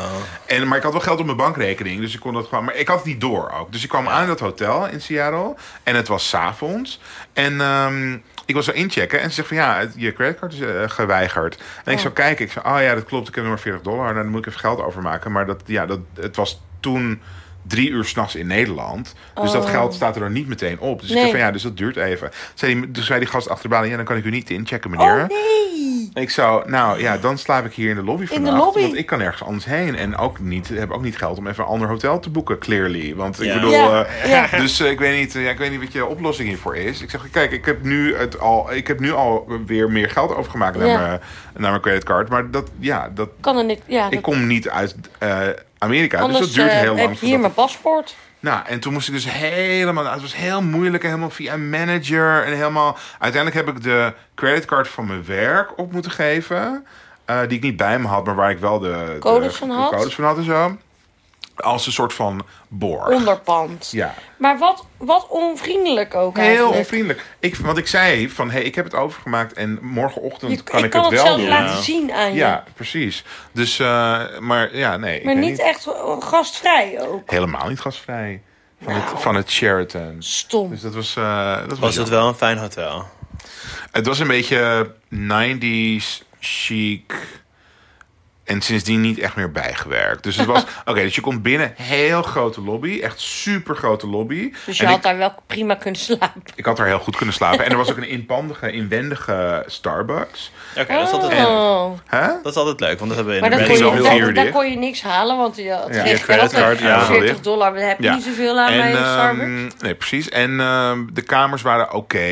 S2: En, maar ik had wel geld op mijn bankrekening, dus ik kon dat gewoon... Maar ik had het niet door ook. Dus ik kwam aan in dat hotel in Seattle en het was 's avonds. En ehm, ik was zo inchecken en ze zegt van ja, het- je creditcard is eh, geweigerd. En ik zou kijken, ik zei, oh ja, dat klopt, ik heb nog maar 40 dollar. Nou, dan moet ik even geld overmaken. Maar dat, ja, dat, het was toen drie uur s'nachts in Nederland. Dus dat geld staat er dan niet meteen op. Dus ik
S3: Nee.
S2: zei van ja, dus dat duurt even. Zei die, toen zei die gast achter de balie, ja, dan kan ik u niet inchecken, meneer.
S3: Oh nee!
S2: Ik zou, nou ja, dan slaap ik hier in de lobby
S3: de
S2: vanavond.
S3: lobby?
S2: Want ik kan ergens anders heen. En ook niet, heb ook niet geld om even een ander hotel te boeken, clearly. Want ik
S1: Ja.
S2: bedoel,
S3: Ja,
S2: eh,
S3: ja.
S2: dus eh, ik, weet niet, eh, ja, ik weet niet wat je oplossing hiervoor is. Ik zeg, kijk, ik heb nu, het al, ik heb nu al weer meer geld overgemaakt
S3: Ja.
S2: naar, mijn, naar mijn creditcard. Maar dat, ja, dat,
S3: Kan er niet. Ja,
S2: ik
S3: dat-
S2: kom niet uit eh, Amerika.
S3: anders
S2: dus dat duurt
S3: eh,
S2: heel lang.
S3: heb ik hier
S2: voordat-
S3: mijn paspoort.
S2: nou, en toen moest ik dus helemaal... nou, Het was heel moeilijk en helemaal via een manager. En helemaal... Uiteindelijk heb ik de creditcard van mijn werk op moeten geven. eh, die ik niet bij me had, maar waar ik wel de...
S3: Codes
S2: de-
S3: van
S2: de
S3: had.
S2: codes van had en zo. Als een soort van borg.
S3: Onderpand.
S2: Ja.
S3: Maar wat, wat onvriendelijk ook
S2: Heel
S3: eigenlijk.
S2: onvriendelijk. Ik, want ik zei van, hey, ik heb het overgemaakt en morgenochtend
S3: Je-
S2: kan ik,
S3: kan
S2: het
S3: het
S2: wel
S3: zelf
S2: doen.
S3: laten zien aan je.
S2: Ja, precies. Dus, eh, maar ja, nee. ik
S3: maar
S2: weet
S3: niet echt eh, gastvrij ook.
S2: Helemaal niet gastvrij. Van,
S3: Nou.
S2: het, van het Sheraton.
S3: Stom.
S2: Dus dat was... eh, dat was,
S1: Was
S2: jammer.
S1: het wel een fijn hotel?
S2: Het was een beetje 90s chic. En sindsdien niet echt meer bijgewerkt. Dus het was. Oké, dus je komt binnen. Heel grote lobby. Echt super grote lobby.
S3: Dus je
S2: en
S3: had
S2: ik,
S3: daar wel prima kunnen slapen.
S2: ik had daar heel goed kunnen slapen. En er was ook een inpandige, inwendige Starbucks.
S1: Oké, dat, is altijd-
S3: Oh.
S2: Hè?
S1: dat is altijd leuk, want dat hebben we
S3: Maar
S1: in de
S3: dan kon
S1: Brits
S2: is
S3: je,
S2: wel
S1: ook
S2: heel
S3: daar-
S1: heel
S2: duur
S3: daar
S2: dit.
S3: kon je niks halen, want je had
S2: Ja,
S3: geen
S2: je
S3: geld.
S2: creditcard, ja,
S3: 40
S2: wellicht.
S3: dollar, maar daar heb je
S2: Ja.
S3: niet zoveel aan bij de
S2: ehm,
S3: Starbucks.
S2: Nee, precies. En ehm, de kamers waren oké.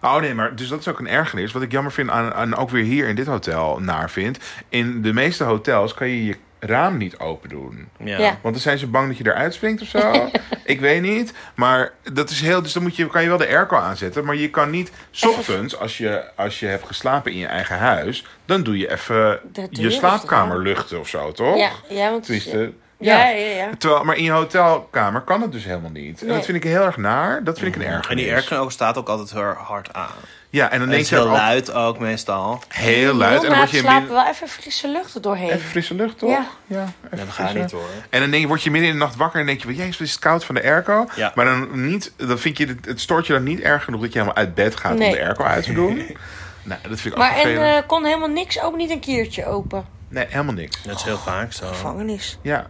S2: Oh nee, maar dus dat is ook een ergernis. Wat ik jammer vind aan, aan ook weer hier in dit hotel naar vind. In de meeste hotels kan je je raam niet open doen.
S1: Ja.
S3: Ja.
S2: Want dan zijn ze bang dat je eruit springt of zo. ik weet niet. Maar dat is heel. Dus dan moet je, kan je wel de airco aanzetten. Maar je kan niet. 's ochtends, als je, als je hebt geslapen in je eigen huis. dan doe je even
S3: doe je
S2: je
S3: rustig
S2: slaapkamer luchten of zo, toch?
S3: Ja, ja, want
S2: Tenminste.
S3: ja, ja, ja, ja.
S2: Terwijl, maar in je hotelkamer kan het dus helemaal niet. En
S3: Nee.
S2: dat vind ik heel erg naar. Dat vind ik een erg.
S1: En die airco staat ook altijd heel hard aan.
S2: Ja, en dan
S1: En het
S2: denk
S1: is
S2: je ook
S1: heel
S2: al-
S1: luid ook meestal.
S2: heel luid. En dan
S3: Heel laat
S2: word je
S3: slapen,
S2: midden...
S3: wel even frisse lucht er doorheen.
S2: Even frisse lucht, toch?
S3: Ja.
S2: even
S1: Nee, dat gaat
S2: frisse-
S1: niet hoor.
S2: En dan denk je, word je midden in de nacht wakker en denk je, wel, jezus, is het koud van de airco?
S1: Ja.
S2: Maar dan, niet, dan vind je, het, het stoort je dan niet erg genoeg dat je helemaal uit bed gaat
S3: Nee.
S2: om de airco uit te doen. nou, dat vind ik
S3: Maar
S2: ook
S3: en
S2: vervelend.
S3: eh, kon helemaal niks, ook niet een kiertje open.
S2: Nee, helemaal niks.
S1: Dat is
S3: Oh,
S1: heel vaak zo.
S3: Gevangenis.
S2: Ja.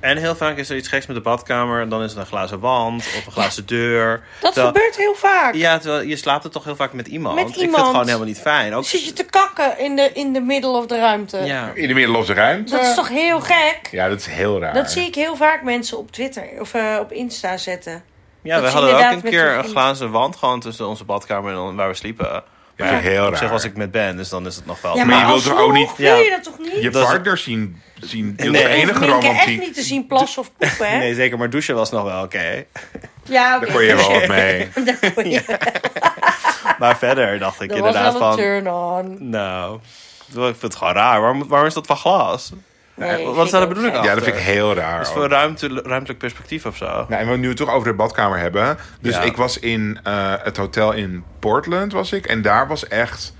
S1: En heel vaak is er iets geks met de badkamer. En dan is het een glazen wand of een glazen deur.
S3: Dat
S1: Terwijl-
S3: gebeurt heel vaak.
S1: Ja, terwijl je slaapt er toch heel vaak met iemand.
S3: Met
S1: Ik vind het
S3: iemand.
S1: gewoon helemaal niet fijn. Ook,
S3: Zit je te kakken in de, in de middel of de ruimte?
S1: ja.
S2: In de middel of de ruimte.
S3: Dat is toch heel gek?
S2: Ja, dat is heel raar.
S3: Dat zie ik heel vaak mensen op Twitter of eh, op Insta zetten.
S1: ja, we
S3: is
S1: hadden ook
S3: inderdaad
S1: een
S3: met
S1: keer
S3: een
S1: een
S3: vriend.
S1: glazen wand gewoon tussen onze badkamer en waar we sliepen. Maar
S2: vind ik heel
S1: op zich
S2: raar.
S1: was ik met Ben, dus dan is het nog wel...
S3: Ja,
S2: maar
S3: maar,
S2: je wilt toch
S3: alsnog
S2: ook niet-
S3: wil je
S1: Ja.
S3: dat toch niet?
S2: Je
S1: Dat is-
S2: partner zien, zien dat is
S1: Nee.
S2: de enige
S3: Hoeft Minke echt
S2: romantiek.
S3: niet te zien plassen of poepen, hè?
S1: Nee, zeker, maar douchen was nog wel oké.
S3: Ja, oké.
S2: Daar kon je wel wat mee.
S3: Daar kon je-
S1: Maar verder dacht ik
S3: Dat was
S1: inderdaad
S3: wel een
S1: van...
S3: turn-on.
S1: Nou, ik vind het gewoon raar. Waarom, waarom is dat van glas?
S3: Nee,
S1: wat
S3: vind
S1: is daar de
S3: ook
S1: bedoeling
S3: gek.
S1: aan?
S2: Ja, dat vind ik heel raar.
S1: Is
S2: ook.
S1: voor ruimte, ruimtelijk perspectief of zo?
S2: Nou, en we nu het toch over de badkamer hebben. Dus
S1: Ja.
S2: ik was in eh, het hotel in Portland, was ik. En daar was echt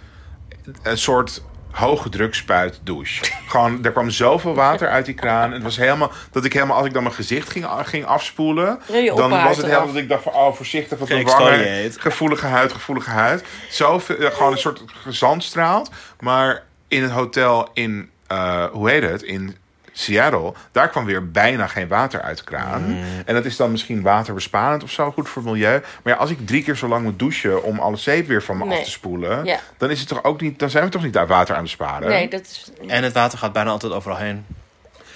S2: een soort hoge druk spuit douche. Gewoon, er kwam zoveel water uit die kraan. En het was helemaal, dat ik helemaal, als ik dan mijn gezicht ging, ging afspoelen...
S3: Reden je
S2: dan
S3: ophaar
S2: was het helemaal
S3: eraf.
S2: dat ik dacht van, oh, voorzichtig, want mijn wangen...
S1: Geëxfoliate.
S2: Gevoelige huid, gevoelige huid. Zoveel, eh, gewoon een soort gezand straalt. Maar in het hotel in, eh, hoe heet het, in Seattle... daar kwam weer bijna geen water uit de kraan.
S3: Mm.
S2: En dat is dan misschien waterbesparend of zo, goed voor het milieu. Maar ja, als ik drie keer zo lang moet douchen om alle zeep weer van me
S3: Nee.
S2: af te spoelen...
S3: Ja.
S2: dan, is het toch ook niet, dan zijn we toch niet aan water aan het besparen?
S3: Nee, dat is...
S1: En het water gaat bijna altijd overal heen.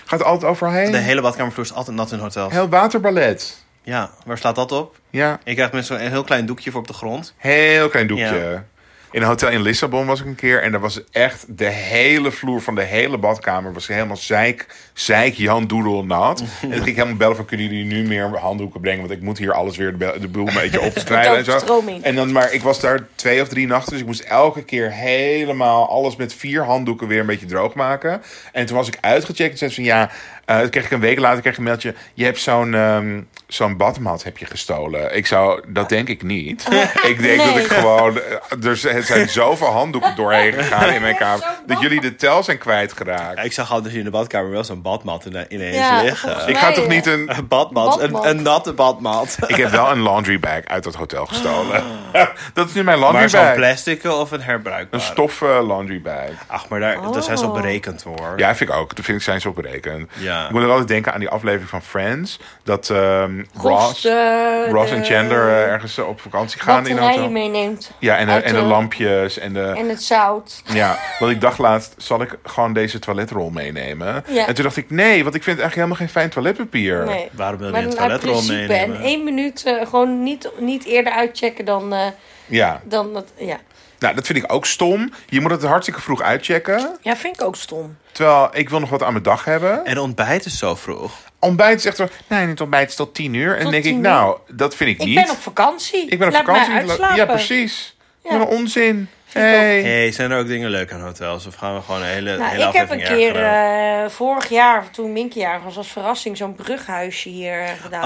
S2: Gaat altijd overal heen?
S1: De hele badkamervloer is altijd nat in hotels.
S2: Heel waterballet.
S1: Ja, waar slaat dat op?
S2: Ja,
S1: Je krijgt met zo'n heel klein doekje voor op de grond.
S2: heel klein doekje.
S1: Ja.
S2: In een hotel in Lissabon was ik een keer. En daar was echt de hele vloer van de hele badkamer. Was helemaal zeik, zeik Jan Doedel nat. En toen ging ik helemaal bellen van kunnen jullie nu meer handdoeken brengen. Want ik moet hier alles weer de, bel- de boel een beetje opschrijven en
S3: Verkoop
S2: zo.
S3: stroming.
S2: En dan, maar ik was daar twee of drie nachten. Dus ik moest elke keer helemaal alles met vier handdoeken weer een beetje droog maken. En toen was ik uitgecheckt. En zei ze van ja, eh, toen kreeg ik een week later kreeg ik een mailtje. Je hebt zo'n ehm, zo'n badmat heb je gestolen. Ik zou, dat denk ik niet. ik denk dat
S3: Nee.
S2: ik gewoon, eh, er zijn er zijn zoveel handdoeken doorheen gegaan in mijn kamer. Dat jullie de tel zijn
S1: Ja,
S2: kwijtgeraakt.
S1: ik zag al dat je in de badkamer wel zo'n badmat ine- ineens
S3: Ja,
S1: liggen.
S2: Ik
S3: mij
S2: ga toch
S3: wel.
S2: niet een...
S1: Een badmat, een,
S3: Badmat.
S1: een natte badmat.
S2: Ik heb wel een laundry bag uit dat hotel gestolen. dat is nu mijn laundry
S1: Maar zo'n
S2: bag.
S1: plastic of een
S2: Een
S1: herbruikbare?
S2: stof eh, laundry bag.
S1: Ach, maar daar, daar zijn ze op
S3: Oh.
S1: berekend hoor.
S2: Ja, vind ik ook. Dat vind ik zijn ze op berekend.
S1: Ja.
S2: Ik moet er altijd denken aan die aflevering van Friends. Dat ehm,
S3: eh, Ross,
S2: Ross,
S3: de-
S2: Ross
S3: de-
S2: en Chandler eh, ergens eh, op vakantie gaan in een
S3: batterijen
S2: hotel.
S3: meeneemt.
S2: Ja, en, de-
S3: Uit
S2: en de
S3: de-
S2: lampjes. En de,
S3: En het zout.
S2: Ja, want ik dacht laatst, zal ik gewoon deze toiletrol meenemen?
S3: Ja.
S2: En toen dacht ik, nee, want ik vind eigenlijk helemaal geen fijn toiletpapier.
S3: Nee.
S1: Waarom wil je
S3: Maar
S1: een
S3: dan uit
S1: toiletrol
S3: principe en
S1: meenemen?
S3: één minuut eh, gewoon niet, niet eerder uitchecken dan, eh,
S2: Ja,
S3: dan dat. Ja.
S2: nou dat vind ik ook stom. Je moet het hartstikke vroeg uitchecken.
S3: ja, vind ik ook stom.
S2: Terwijl ik wil nog wat aan mijn dag hebben.
S1: En ontbijt is zo vroeg.
S2: Ontbijt is echt wel, nee, het ontbijt is tot tien uur. En dan
S3: Tot
S2: denk ik,
S3: tien
S2: nou, dat vind ik
S3: Ik
S2: niet.
S3: ben op vakantie.
S2: ik ben op
S3: Laat
S2: vakantie.
S3: Mij uitslapen.
S2: ja, precies.
S3: Ja.
S2: Wat een onzin.
S3: ik
S2: Hey.
S1: hey, zijn er ook dingen leuk aan hotels? Of gaan we gewoon een hele,
S3: Nou,
S1: hele
S3: ik heb een
S1: aflevering
S3: keer
S1: ergeren?
S3: eh, vorig jaar, toen Minky jarig was, als verrassing zo'n brughuisje hier eh, gedaan.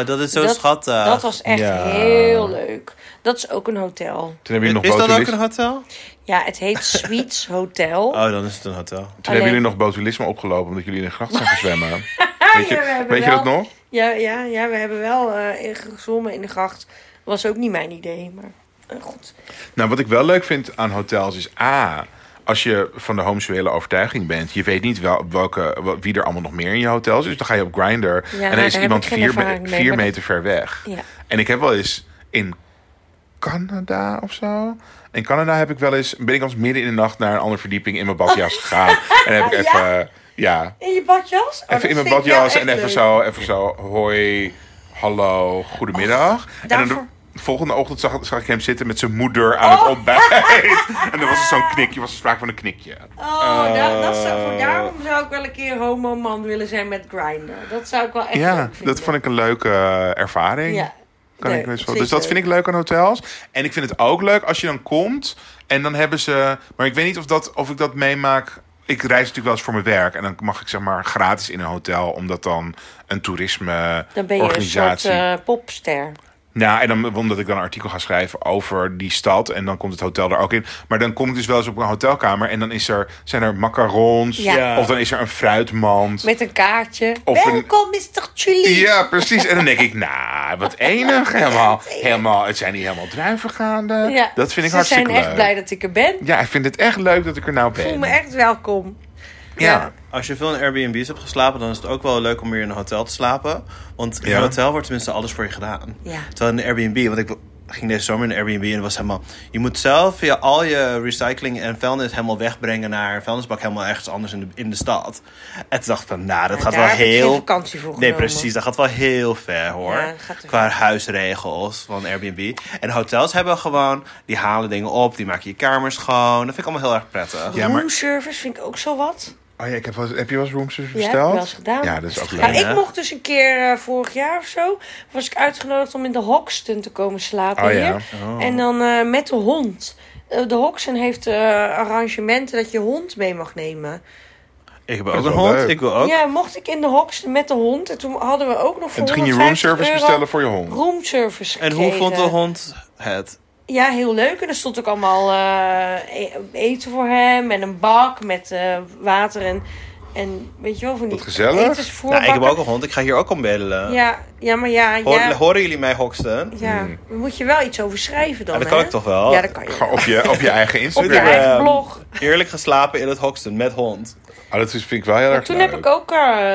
S1: Oh, dat is zo
S3: dat,
S1: schattig.
S3: Dat was echt
S2: Ah, Ja.
S3: heel leuk. Dat is ook een hotel.
S2: Toen hebben jullie nog
S1: is dat ook
S2: botulisme.
S1: een hotel?
S3: Ja, het heet Sweets Hotel.
S1: Oh, dan is het een hotel.
S2: Ah, Toen hebben
S3: Alleen-
S2: jullie nog botulisme opgelopen omdat jullie in de gracht zijn gezwemmen. weet je,
S3: we hebben
S2: weet je dat
S3: wel-
S2: nog?
S3: Ja, ja, ja, we hebben wel eh gezwommen in de gracht. Was ook niet mijn idee, maar eh, goed.
S2: Nou, wat ik wel leuk vind aan hotels is A. Als je van de homoseksuele overtuiging bent, je weet niet wel, welke, wel- wie er allemaal nog meer in je hotel is. Dus dan ga je op Grindr en
S3: nou, daar
S2: dan
S3: heb
S2: is
S3: ik
S2: iemand
S3: geen
S2: vier, me-
S3: ervaring mee,
S2: vier
S3: maar dat-
S2: meter ver weg.
S3: Ja.
S2: En ik heb wel eens in Canada of zo. In Canada heb ik wel eens, ben ik als midden in de nacht naar een andere verdieping in mijn badjas gegaan. en heb ik
S3: Ja?
S2: even, ja,
S3: In je badjas? Oh,
S2: even in
S3: dat
S2: mijn
S3: vind ik wel
S2: badjas en
S3: echt
S2: even
S3: leuk.
S2: zo, even zo, hoi, hallo, goedemiddag. en dan
S3: daarvoor- Oh.
S2: de volgende ochtend zag, zag ik hem zitten met zijn moeder aan het ontbijt. en dan was er zo'n knikje, was er sprake van een knikje.
S3: Oh, dat, dat zou,
S2: Eh.
S3: voor daarom zou ik wel een keer homo-man willen zijn met Grindr. Dat zou ik wel echt
S2: Ja,
S3: leuk vinden.
S2: dat vond ik een leuke eh, ervaring.
S3: Ja.
S2: Kan
S3: Leuk,
S2: ik best wel.
S3: zeker.
S2: Dus dat vind ik leuk aan hotels. En ik vind het ook leuk als je dan komt en dan hebben ze. Maar ik weet niet of, dat, of ik dat meemaak. Ik reis natuurlijk wel eens voor mijn werk en dan mag ik zeg maar gratis in een hotel, omdat dan een toerisme
S3: Dan ben je een soort
S2: organisatie.
S3: eh, popster.
S2: Nou, en dan, omdat ik dan een artikel ga schrijven over die stad. En dan komt het hotel er ook in. Maar dan kom ik dus wel eens op een hotelkamer. En dan is er, zijn er macarons.
S3: Ja. Ja.
S2: Of dan is er een fruitmand.
S3: Met een kaartje.
S2: Of een-
S3: Welkom, Mr. Chili.
S2: Ja, precies. En dan denk ik, nou, wat enig. Helemaal, helemaal, het zijn niet helemaal druiven gaande.
S3: Ja,
S2: Dat vind ik
S3: Ze
S2: hartstikke
S3: zijn echt
S2: leuk.
S3: blij dat ik er ben.
S2: Ja, ik vind het echt leuk dat ik er nou ben.
S3: Ik voel me echt welkom.
S2: Ja.
S1: Als je veel in Airbnb's hebt geslapen, dan is het ook wel leuk om weer in een hotel te slapen. Want in
S2: Ja.
S1: een hotel wordt tenminste alles voor je gedaan.
S3: Ja.
S1: Terwijl in een Airbnb, want ik ging deze zomer in een Airbnb en het was helemaal... Je moet zelf je, al je recycling en vuilnis helemaal wegbrengen naar een vuilnisbak helemaal ergens anders in de, in de stad. En toen dacht ik van, nou, dat
S3: Ja,
S1: gaat
S3: daar
S1: wel
S3: heb ik
S1: heel...
S3: geen vakantie voor
S1: Nee,
S3: genomen.
S1: precies. Dat gaat wel heel ver, hoor.
S3: Ja, dat gaat te
S1: Qua huisregels van Airbnb. En hotels hebben gewoon... Die halen dingen op, die maken je kamer schoon. Dat vind ik allemaal heel erg prettig.
S2: Ja, maar-
S3: Roomservice vind ik ook zo wat.
S2: Oh ja, ik heb, wel eens- heb je wel eens roomservice
S3: Ja, heb ik
S2: besteld?
S3: wel eens gedaan.
S2: Ja, dat is ook
S3: Nou,
S2: leuk.
S3: ik mocht dus een keer eh, vorig jaar of zo, was ik uitgenodigd om in de Hoxton te komen slapen
S2: Oh,
S3: hier.
S2: ja.
S3: En dan eh, met de hond. Eh, de Hoxton heeft eh, arrangementen dat je hond mee mag nemen.
S1: Ik heb
S2: Dat
S1: ook
S2: is
S1: een
S2: wel
S1: hond.
S2: leuk.
S1: Ik wil ook.
S3: Ja, mocht ik in de Hoxton met de hond. En toen hadden we ook nog voor
S2: En toen ging je
S3: 150
S2: roomservice
S3: euro
S2: bestellen voor je hond.
S3: roomservice
S1: En hoe vond de
S3: gekregen.
S1: hond het?
S3: Ja, heel leuk. En er stond ook allemaal eh, e- eten voor hem. En een bak met eh, water en, en weet je wel, van die
S2: Wat gezellig.
S1: Nou, ik heb
S3: etensvoorbakken.
S1: ook een hond. Ik ga hier ook om bedelen.
S3: Ja, ja, maar ja,
S1: Hoor-
S3: ja,
S1: Horen jullie mij, Hoxton?
S3: ja. Daar moet je wel iets over schrijven dan,
S1: Ja, dat kan
S3: hè?
S1: ik toch wel? ehm,
S3: Ja, dat kan je
S2: Gewoon Op je, op je eigen
S3: Op je
S2: Instagram.
S1: Instagram.
S3: eigen blog.
S1: Eerlijk geslapen in het Hoxton met hond.
S2: Oh, dat is, vind ik wel heel erg
S3: Toen
S2: leuk.
S3: heb ik ook eh,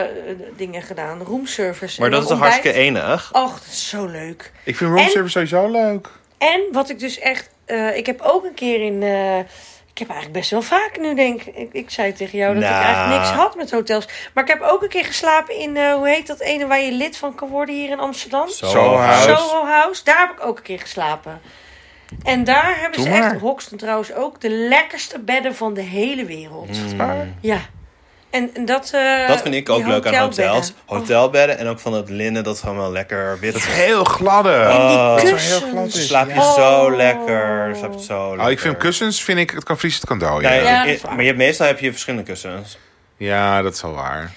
S3: dingen gedaan. Roomservice.
S1: Maar
S3: en
S1: dat is
S3: dan
S1: toch
S3: ontbijt.
S1: hartstikke
S3: Oh,
S1: e- enig?
S3: Och, dat is zo leuk.
S2: Ik vind roomservice sowieso leuk.
S3: En wat ik dus echt... eh, ik heb ook een keer in... eh, ik heb eigenlijk best wel vaak nu, denk ik. Ik, ik zei tegen jou dat
S1: Nou.
S3: ik eigenlijk niks had met hotels. Maar ik heb ook een keer geslapen in... eh, hoe heet dat ene waar je lid van kan worden hier in Amsterdam?
S1: Zo
S2: Soho House.
S3: Soho House. Daar heb ik ook een keer geslapen. En daar hebben
S2: Doe
S3: ze
S2: maar.
S3: echt, Hoxton trouwens ook, de lekkerste bedden van de hele wereld.
S2: Mm.
S3: Ja. En, en dat... eh,
S1: Dat vind ik ook
S3: die
S1: leuk aan
S3: hotelbedden. Oh.
S1: hotels. Hotelbedden en ook van dat linnen, dat is allemaal lekker wit.
S2: Het is heel gladde.
S1: Oh,
S3: Die
S2: heel glad
S3: kussens.
S2: Ah. is.
S1: slaap je
S3: Oh.
S1: zo lekker. Slaap je zo lekker.
S2: Oh, ik vind kussens, vind ik, het kan vriezen, het kan dooien.
S1: Ja,
S2: Ja,
S3: Ja, dat
S1: ik-
S3: is waar.
S1: maar je hebt, meestal heb je verschillende kussens.
S2: dat is wel waar.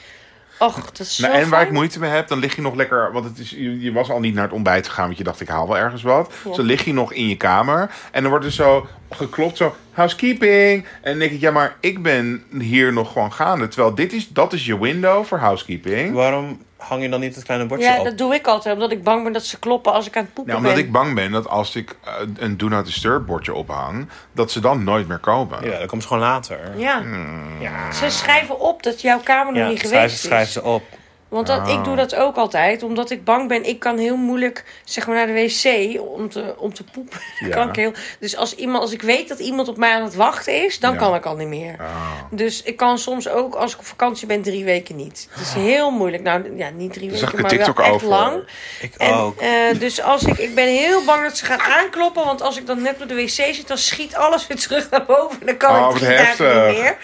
S3: Och, dat is zo
S2: Nou, en waar
S3: fijn.
S2: ik moeite mee heb, dan lig je nog lekker... Want het is, je, je was al niet naar het ontbijt gegaan, want je dacht, ik haal wel ergens wat. Dus dan lig je nog in je kamer. En dan wordt er zo geklopt, zo, housekeeping. En dan denk ik, ja, maar ik ben hier nog gewoon gaande. Terwijl dit is, dat is je window voor housekeeping.
S1: Waarom hang je dan niet het kleine bordje
S3: Ja,
S1: op?
S3: dat doe ik altijd, omdat ik bang ben dat ze kloppen als ik aan het poepen
S2: Nou, omdat
S3: ben.
S2: ik bang ben dat als ik eh, een do not disturb bordje ophang, dat ze dan nooit meer komen.
S1: Ja, dat komt gewoon later.
S3: Ja.
S2: Mm.
S3: Ze schrijven op dat jouw kamer nog niet
S1: schrijf,
S3: geweest
S1: schrijf
S3: is.
S1: ze op.
S3: Want dat, ik doe dat ook altijd, omdat ik bang ben. Ik kan heel moeilijk zeg maar, naar de wc om te, om te poepen. Dat
S2: Ja.
S3: kan ik heel, dus als, iemand, als ik weet dat iemand op mij aan het wachten is, dan
S2: Ja.
S3: kan ik al niet meer.
S2: Ah.
S3: Dus ik kan soms ook, als ik op vakantie ben, drie weken niet. Het is heel moeilijk. Nou, ja, niet drie
S2: Daar zag
S3: weken,
S2: ik
S3: maar
S2: een
S3: wel
S2: TikTok
S3: echt
S2: over.
S3: lang.
S1: Ik
S3: En,
S1: ook.
S3: eh, dus als ik, ik ben heel bang dat ze gaan aankloppen. Want als ik dan net op de wc zit, dan schiet alles weer terug naar boven. En dan kan
S2: Oh,
S3: ik
S2: wat
S3: drie dagen niet
S2: heftig.
S3: meer.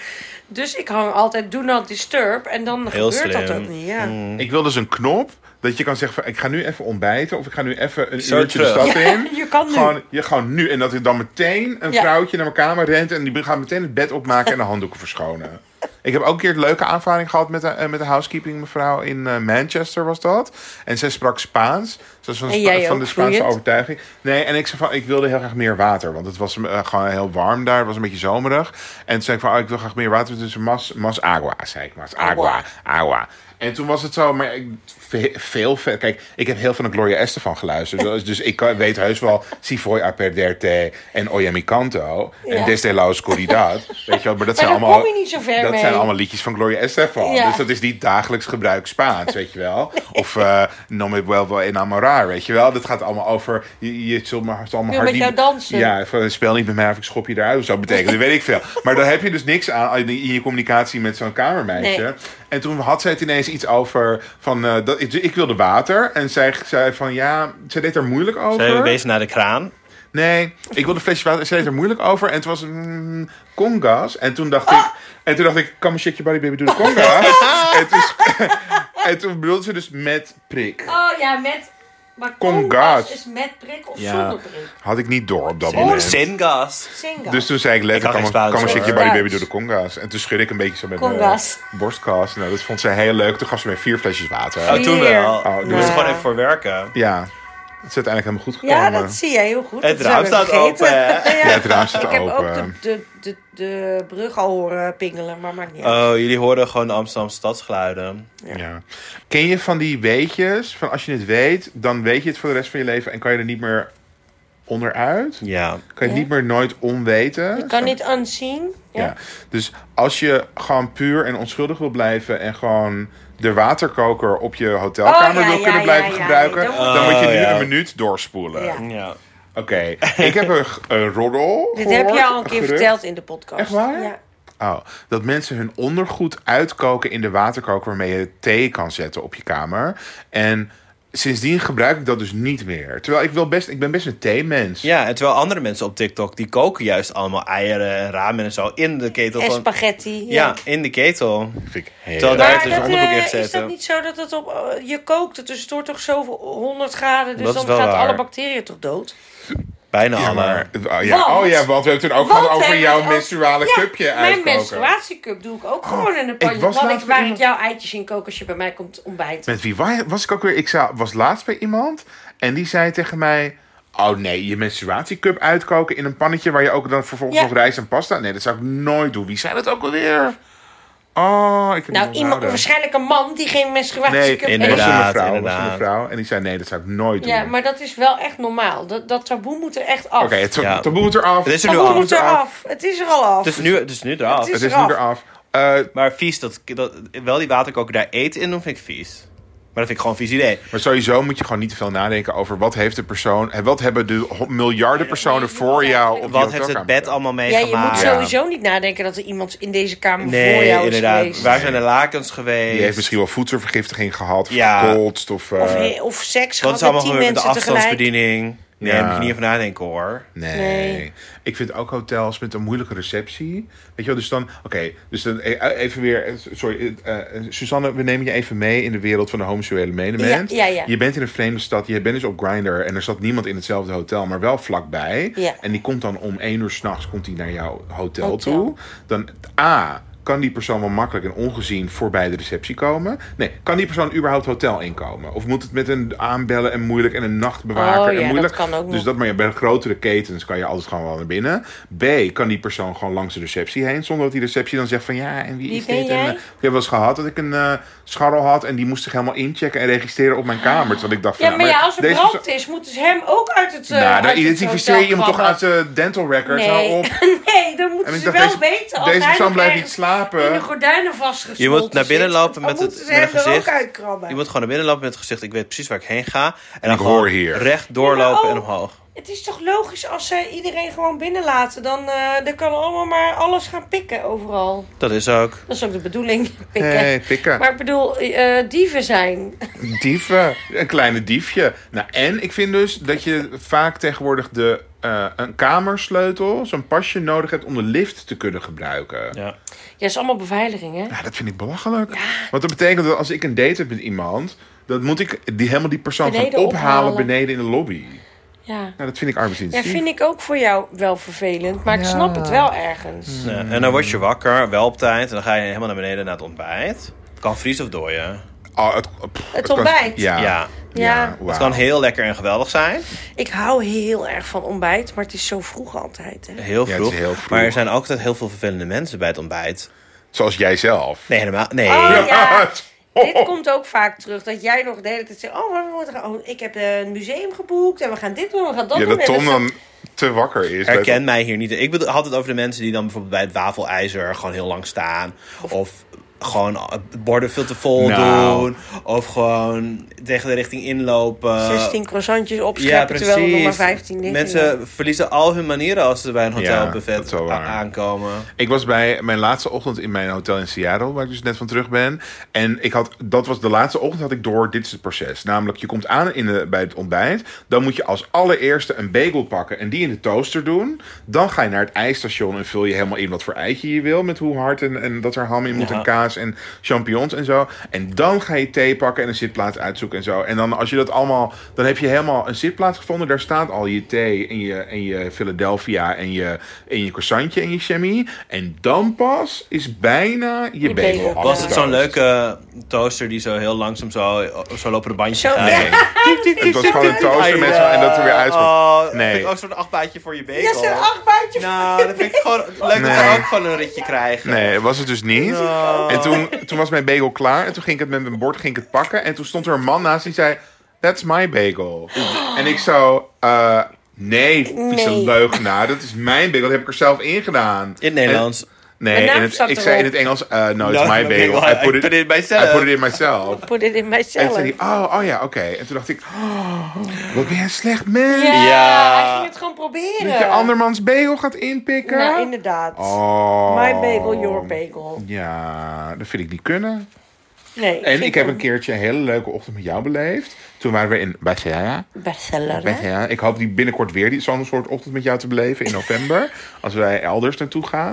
S3: Dus ik hang altijd do not disturb. En dan
S1: Heel
S3: gebeurt dat
S1: slim. Mm.
S3: ook niet. Ja.
S2: Ik wil dus een knop dat je kan zeggen van ik ga nu even ontbijten of ik ga nu even een
S1: Zo
S2: uurtje de
S1: terug.
S2: stad in.
S3: je kan nu.
S2: Gewoon, je gewoon nu. En dat er dan meteen een
S3: Ja.
S2: vrouwtje naar mijn kamer rent en die gaat meteen het bed opmaken en de handdoeken verschonen. Ik heb ook een keer een leuke aanvaring gehad met een, eh, met een housekeeping mevrouw in eh, Manchester was dat. En zij sprak Spaans. Ze was van,
S3: En
S2: Spa-
S3: jij
S2: van
S3: ook,
S2: de Spaanse
S3: vloeiend.
S2: overtuiging. Nee, en ik zei van ik wilde heel graag meer water. Want het was eh, gewoon heel warm daar. Het was een beetje zomerig. En toen zei ik van oh, ik wil graag meer water. Dus mas, mas agua, zei ik. Mas agua, agua. En toen was het zo, maar ik, ve- veel vet. Kijk, ik heb heel veel naar Gloria Estefan geluisterd. Dus, dus ik kan- weet heus wel Si voy a perderte en Oye mi canto.
S3: Ja.
S2: En Desde la oscuridad. Weet je wel, maar dat zijn
S3: daar
S2: allemaal...
S3: kom je niet zo ver
S2: Dat
S3: mee.
S2: zijn allemaal liedjes van Gloria Estefan.
S3: Ja.
S2: Dus dat is niet dagelijks gebruik Spaans, weet je wel. Of eh No me vuelvo a enamorar, weet je wel. Dat gaat allemaal over... Je, je zult maar zal maar
S3: Wil
S2: hard
S3: met jou
S2: niet-
S3: dansen.
S2: Ja, van, speel niet met mij of ik schop je eruit. Of zo betekent, dat weet ik veel. Maar daar heb je dus niks aan in je communicatie met zo'n kamermeisje.
S3: Nee.
S2: En toen had zij het ineens iets over van... eh, dat, ik, ik wilde water. En zij zei van ja... Zij deed er moeilijk over.
S1: Zijn we bezig naar de kraan?
S2: Nee, ik wilde een flesje water. Ze deed er moeilijk over. En toen was het mm, congas. En toen dacht ik... En toen dacht ik, come shake your body baby, doe de congas. en, toen, en toen bedoelde ze dus met prik.
S3: Oh ja, met. Maar
S2: Congas.
S3: congas is met prik of
S1: Ja.
S3: zonder prik.
S2: Had ik niet door op dat
S1: Oh,
S2: moment.
S1: Zingas.
S3: Singa.
S2: Dus toen zei ik
S1: Ik kan
S2: letterlijk,
S1: geen
S2: come,
S1: Spaans,
S2: come shake your
S3: hoor.
S2: body baby, doe de congas. En toen schudde ik een beetje zo met
S3: Congas.
S2: mijn borstkas. Nou, dat vond ze heel leuk. Toen gaf ze mij vier flesjes water.
S1: Oh, toen wel.
S3: Oh,
S1: Je
S2: nee.
S1: moest er gewoon even voor werken.
S2: Ja, het is uiteindelijk helemaal goed gekomen.
S3: ja, dat zie jij heel goed.
S1: Het
S3: Dat zijn
S1: raam
S3: we
S1: staat
S3: vergeten.
S1: open, hè?
S3: ja,
S2: Ja, eh, het raam staat
S3: ik heb ook de,
S2: open.
S3: de, de, de brug al horen pingelen, maar maakt niet uit.
S1: Oh, jullie hoorden gewoon de Amsterdamse stadsgeluiden.
S2: Ja. Ken je van die weetjes? Van als je het weet, dan weet je het voor de rest van je leven en kan je er niet meer onderuit?
S1: Ja.
S2: Kan je het
S3: Ja.
S2: niet meer nooit onweten?
S1: Oh.
S3: Je kan
S2: Zo-
S3: niet unseen.
S2: Ja. Dus als je gewoon puur en onschuldig wil blijven en gewoon de waterkoker op je hotelkamer
S3: Oh, ja,
S2: wil
S3: ja,
S2: kunnen
S3: ja,
S2: blijven
S3: ja.
S2: gebruiken,
S3: Dan moet
S2: dan moet je
S1: Oh,
S2: nu
S1: ja.
S2: een minuut doorspoelen.
S3: Ja.
S1: Ja.
S2: Oké, ik heb een, g- een roddel.
S3: Dit heb je
S2: gehoord,
S3: al een keer
S2: gerucht.
S3: verteld in de podcast.
S2: Echt waar?
S3: Ja.
S2: Oh, dat mensen hun ondergoed uitkoken in de waterkoker waarmee je thee kan zetten op je kamer. En sindsdien gebruik ik dat dus niet meer. Terwijl ik wel best, ik ben best een theemens.
S1: ja, en terwijl andere mensen op TikTok, die koken juist allemaal eieren en ramen en zo in de ketel.
S3: En
S1: Van,
S3: spaghetti.
S1: ja. in de ketel.
S2: Vind ik
S1: Terwijl
S2: heel
S1: daar
S2: erg.
S1: heeft
S3: Maar
S1: dus een
S3: dat,
S1: onderbroek in
S3: eh, is dat
S1: gezeten.
S3: niet zo dat het op... eh, je kookt het, dus het wordt toch zo 100 graden. Dus
S1: Dat is
S3: dan
S1: wel
S3: gaat
S1: waar.
S3: alle bacteriën toch dood?
S1: Bijna
S2: Ja,
S1: alle.
S2: maar- oh, ja.
S3: Want-
S2: oh ja, want we hebben toen ook
S3: Want
S2: gehad over
S3: hebben
S2: jouw
S3: het ook-
S2: menstruale
S3: Ja,
S2: cupje uitkoken. Oh,
S3: Mijn menstruatiecup doe ik ook gewoon in een
S2: ik
S3: pan.
S2: was
S3: Want ik,
S2: laatst
S3: waar
S2: in-
S3: ik jouw eitjes in kook als je bij mij komt ontbijten.
S2: Met wie wa- was ik ook weer? Ik zou- was laatst bij iemand en die zei tegen mij... Oh nee, je menstruatiecup uitkoken in een pannetje waar je ook dan vervolgens
S3: Ja.
S2: nog rijst en pasta... Nee, dat zou ik nooit doen. Wie zei dat ook alweer? Oh, ik heb
S3: Nou,
S2: het
S3: iemand,
S2: onthouden.
S3: waarschijnlijk een man die geen menstruatiecup
S2: Nee,
S1: inderdaad.
S2: was een mevrouw,
S3: heeft.
S2: was een
S1: inderdaad.
S2: mevrouw. En die zei, nee, dat zou ik nooit doen.
S3: Ja, maar dat is wel echt normaal. Dat, dat taboe moet er echt af.
S2: Oké, het
S1: Ja.
S2: taboe moet eraf.
S1: Het is er nu
S3: taboe
S1: al.
S3: moet
S1: Het
S3: er
S2: af.
S3: af. Het is er al af.
S1: is nu, het is nu eraf.
S3: Het is-
S2: Het is nu
S3: eraf.
S2: eraf. Eh,
S1: Maar vies, dat, dat, wel die waterkoker daar eten in doen, vind ik vies. Maar dat vind ik gewoon een vies idee.
S2: maar sowieso moet je gewoon niet te veel nadenken over wat heeft de persoon... en Wat hebben de ho- miljarden personen voor jou op die
S1: Wat heeft het
S2: hotelkamer
S1: bed
S2: gedaan?
S1: allemaal
S3: ja, je moet
S1: meegemaakt?
S2: Ja.
S3: sowieso niet nadenken dat er iemand in deze kamer voor
S1: Nee,
S3: jou
S1: inderdaad.
S3: is geweest.
S1: Waar zijn de lakens geweest?
S2: Die heeft misschien wel voedselvergiftiging gehad, of
S1: Ja.
S2: verkotst, of... eh,
S3: Of, of
S1: Wat
S3: seks gehad
S1: is
S3: met
S1: allemaal
S3: tien
S1: gebeurd met de
S3: mensen tegelijk.
S1: afstandsbediening? Nee,
S2: Ja.
S1: daar moet je niet even nadenken hoor.
S2: Nee.
S3: Nee.
S2: Ik vind ook hotels met een moeilijke receptie. Weet je wel, dus dan... Oké, dus dan e- even weer... eh, Sorry, eh, eh, Suzanne, we nemen je even mee in de wereld van de homoseksuele medemensen.
S3: Ja, ja, ja.
S2: Je bent in een vreemde stad, je bent dus op Grindr... en er zat niemand in hetzelfde hotel, maar wel vlakbij.
S3: Ja.
S2: En die komt dan om één uur s'nachts naar jouw hotel,
S3: Hotel.
S2: toe. Dan A... Kan die persoon wel makkelijk en ongezien voorbij de receptie komen? Nee, kan die persoon überhaupt hotel inkomen? Of moet het met een aanbellen en moeilijk en een nachtbewaker
S3: Oh ja,
S2: en
S3: dat
S2: moeilijk?
S3: kan ook nog.
S2: Dus dat maar ja, bij grotere ketens kan je altijd gewoon wel naar binnen. B, kan die persoon gewoon langs de receptie heen. Zonder dat die receptie dan zegt van ja, en wie,
S3: Wie
S2: is
S3: ben
S2: dit? En,
S3: jij?
S2: eh, ik heb wel eens gehad dat ik een eh, scharrel had. En die moest zich helemaal inchecken en registreren op mijn kamer. Terwijl ik dacht van
S3: Ah.
S2: nou,
S3: Ja, maar ja, als er
S2: deze
S3: brand
S2: persoon-
S3: is, moeten ze hem ook uit het. eh,
S2: nou, dan
S3: uit het
S2: identificeer je
S3: hotel
S2: hem toch
S3: krabben.
S2: uit de dental record.
S3: Nee.
S2: Hou nou op.
S3: Nee, dan moeten
S2: En ik
S3: ze
S2: dacht,
S3: wel
S2: deze,
S3: weten als
S2: deze
S3: hij
S2: persoon
S3: nog
S2: blijft niet
S3: ergens in de
S2: slapen.
S3: gordijnen vastgesloten
S1: Je moet naar binnen
S3: zit,
S1: lopen
S3: dan
S1: met het-
S3: moeten
S1: met
S3: ze hem
S1: een
S3: Oh, er ook
S1: gezicht.
S3: uitkrabben.
S1: Je moet gewoon naar binnen lopen met het gezicht. Ik weet precies waar ik heen ga. En dan
S2: ik
S1: gewoon
S2: hoor hier.
S1: recht doorlopen
S3: Ja, oh.
S1: en omhoog.
S3: Het is toch logisch als ze iedereen gewoon binnenlaten, dan, eh, dan kan allemaal maar alles gaan pikken overal.
S1: Dat is ook.
S3: Dat is ook de bedoeling, pikken.
S2: Nee, pikken.
S3: Maar ik bedoel, eh, dieven zijn.
S2: Dieven. Een kleine diefje. Nou, en ik vind dus dat je vaak tegenwoordig de, eh, een kamersleutel, zo'n pasje nodig hebt om de lift te kunnen gebruiken.
S1: Ja.
S3: Ja, is allemaal beveiliging, hè?
S2: Ja, Nou, dat vind ik belachelijk. Want dat betekent dat als ik een date heb met iemand, dan moet ik die, helemaal die persoon gaan
S3: Beneden
S2: ophalen,
S3: ophalen.
S2: beneden in de lobby.
S3: Ja.
S2: Nou, dat vind ik
S3: Ja,
S2: arbeidsintensief.
S3: vind ik ook voor jou wel vervelend, maar ik snap het wel
S2: Mm.
S3: ergens.
S1: Ja, En dan word je wakker, wel op tijd. En dan ga je helemaal naar beneden naar het ontbijt. Het kan vries of dooien.
S2: Oh, het, pff,
S3: Het
S2: kan-
S3: ontbijt.
S2: ja.
S1: Ja.
S2: ja.
S3: Ja.
S2: wauw.
S1: Het kan heel lekker en geweldig zijn.
S3: Ik hou heel erg van ontbijt, maar het is zo vroeg altijd, hè?
S1: Heel
S2: Ja, het is
S1: vroeg.
S2: heel vroeg.
S1: Maar er zijn ook altijd heel veel vervelende mensen bij het ontbijt.
S2: Zoals jij zelf.
S1: Nee, helemaal. Nee.
S3: Oh, ja.
S2: Oh,
S3: Dit komt ook vaak terug. Dat jij nog de hele tijd zegt: Oh, maar we moeten gaan- oh, ik heb eh, een museum geboekt. En we gaan dit doen, we gaan dat
S2: ja,
S3: doen.
S2: dat
S3: en
S2: Tom
S3: dat-
S2: dan te wakker is.
S1: Herken mij hier niet. Ik bedoel- had het over de mensen die dan bijvoorbeeld bij het wafelijzer gewoon heel lang staan. Of gewoon eh, borden veel te vol
S2: Nou.
S1: doen. Of gewoon tegen de richting inlopen.
S3: 16 croissantjes opscheppen, terwijl er nog maar 15 liggen.
S1: Mensen verliezen al hun manieren als ze bij een
S2: Ja, dat is
S1: hotelbuffet
S2: wel
S1: a-
S2: waar.
S1: aankomen.
S2: Ik was bij mijn laatste ochtend in mijn hotel in Seattle, waar ik dus net van terug ben. En ik had, dat was de laatste ochtend had ik door, dit is het proces. Namelijk, je komt aan in de, bij het ontbijt. Dan moet je als allereerste een bagel pakken en die in de toaster doen. Dan ga je naar het ijsstation en vul je helemaal in wat voor eitje je wil. Met hoe hard en, en dat er ham in moet
S1: Ja.
S2: en kaas en champignons en zo. En dan ga je thee pakken en een zitplaats uitzoeken en zo. En dan als je dat allemaal, dan heb je helemaal een zitplaats gevonden. Daar staat al je thee en je, en je Philadelphia en je, en je croissantje en je chamois. En dan pas is bijna je,
S3: Je bagel.
S2: bagel
S1: Was het
S2: afgetoast.
S1: zo'n leuke toaster die zo heel langzaam zo, zo lopen de bandjes
S3: Zo-
S1: gaat?
S3: Ja.
S2: Nee. Het was gewoon een toaster met zo en dat er weer uit was.
S1: Oh,
S2: Nee.
S1: nee. vind ik ook zo'n achtbaantje voor je bekel.
S3: Ja, zo'n achtbaantje.
S1: Nou, dat vind ik gewoon leuk dat
S2: Nee.
S1: we ook gewoon een ritje krijgen.
S2: Nee, was het dus niet.
S1: Oh.
S2: En toen, toen was mijn bagel klaar. En toen ging ik het met mijn bord ging ik het pakken. En toen stond er een man naast die zei... That's my bagel. En ik zo... eh, nee, vieze
S3: Nee.
S2: leugenaar. Dat is mijn bagel. Dat heb ik er zelf in gedaan.
S1: In het Nederlands.
S2: En- nee,
S3: Mijn naam
S2: in het-
S3: staat
S2: ik zei in
S3: erop.
S2: het Engels... eh, no, it's
S1: No,
S2: my
S1: my
S2: bagel.
S1: bagel.
S2: I put it, in myself. I put it in myself.
S3: Put it in
S2: En toen
S3: myself.
S2: zei hij... Oh, oh ja, oké. En toen dacht ik... oh, wat ben jij een slecht mens.
S3: Ja,
S1: Ja.
S3: hij ging het gewoon proberen.
S2: Dat je andermans bagel gaat inpikken.
S3: Nou, inderdaad.
S2: Oh.
S3: My bagel, your bagel.
S2: Ja, dat vind ik niet kunnen.
S3: Nee.
S2: En ik heb een
S3: keer.
S2: keertje een hele leuke ochtend met jou beleefd. Toen waren we in Barcelona.
S3: Bestseller.
S2: Barcelona. Ik hoop die binnenkort weer die- zo'n soort ochtend met jou te beleven in november. als wij elders naartoe gaan.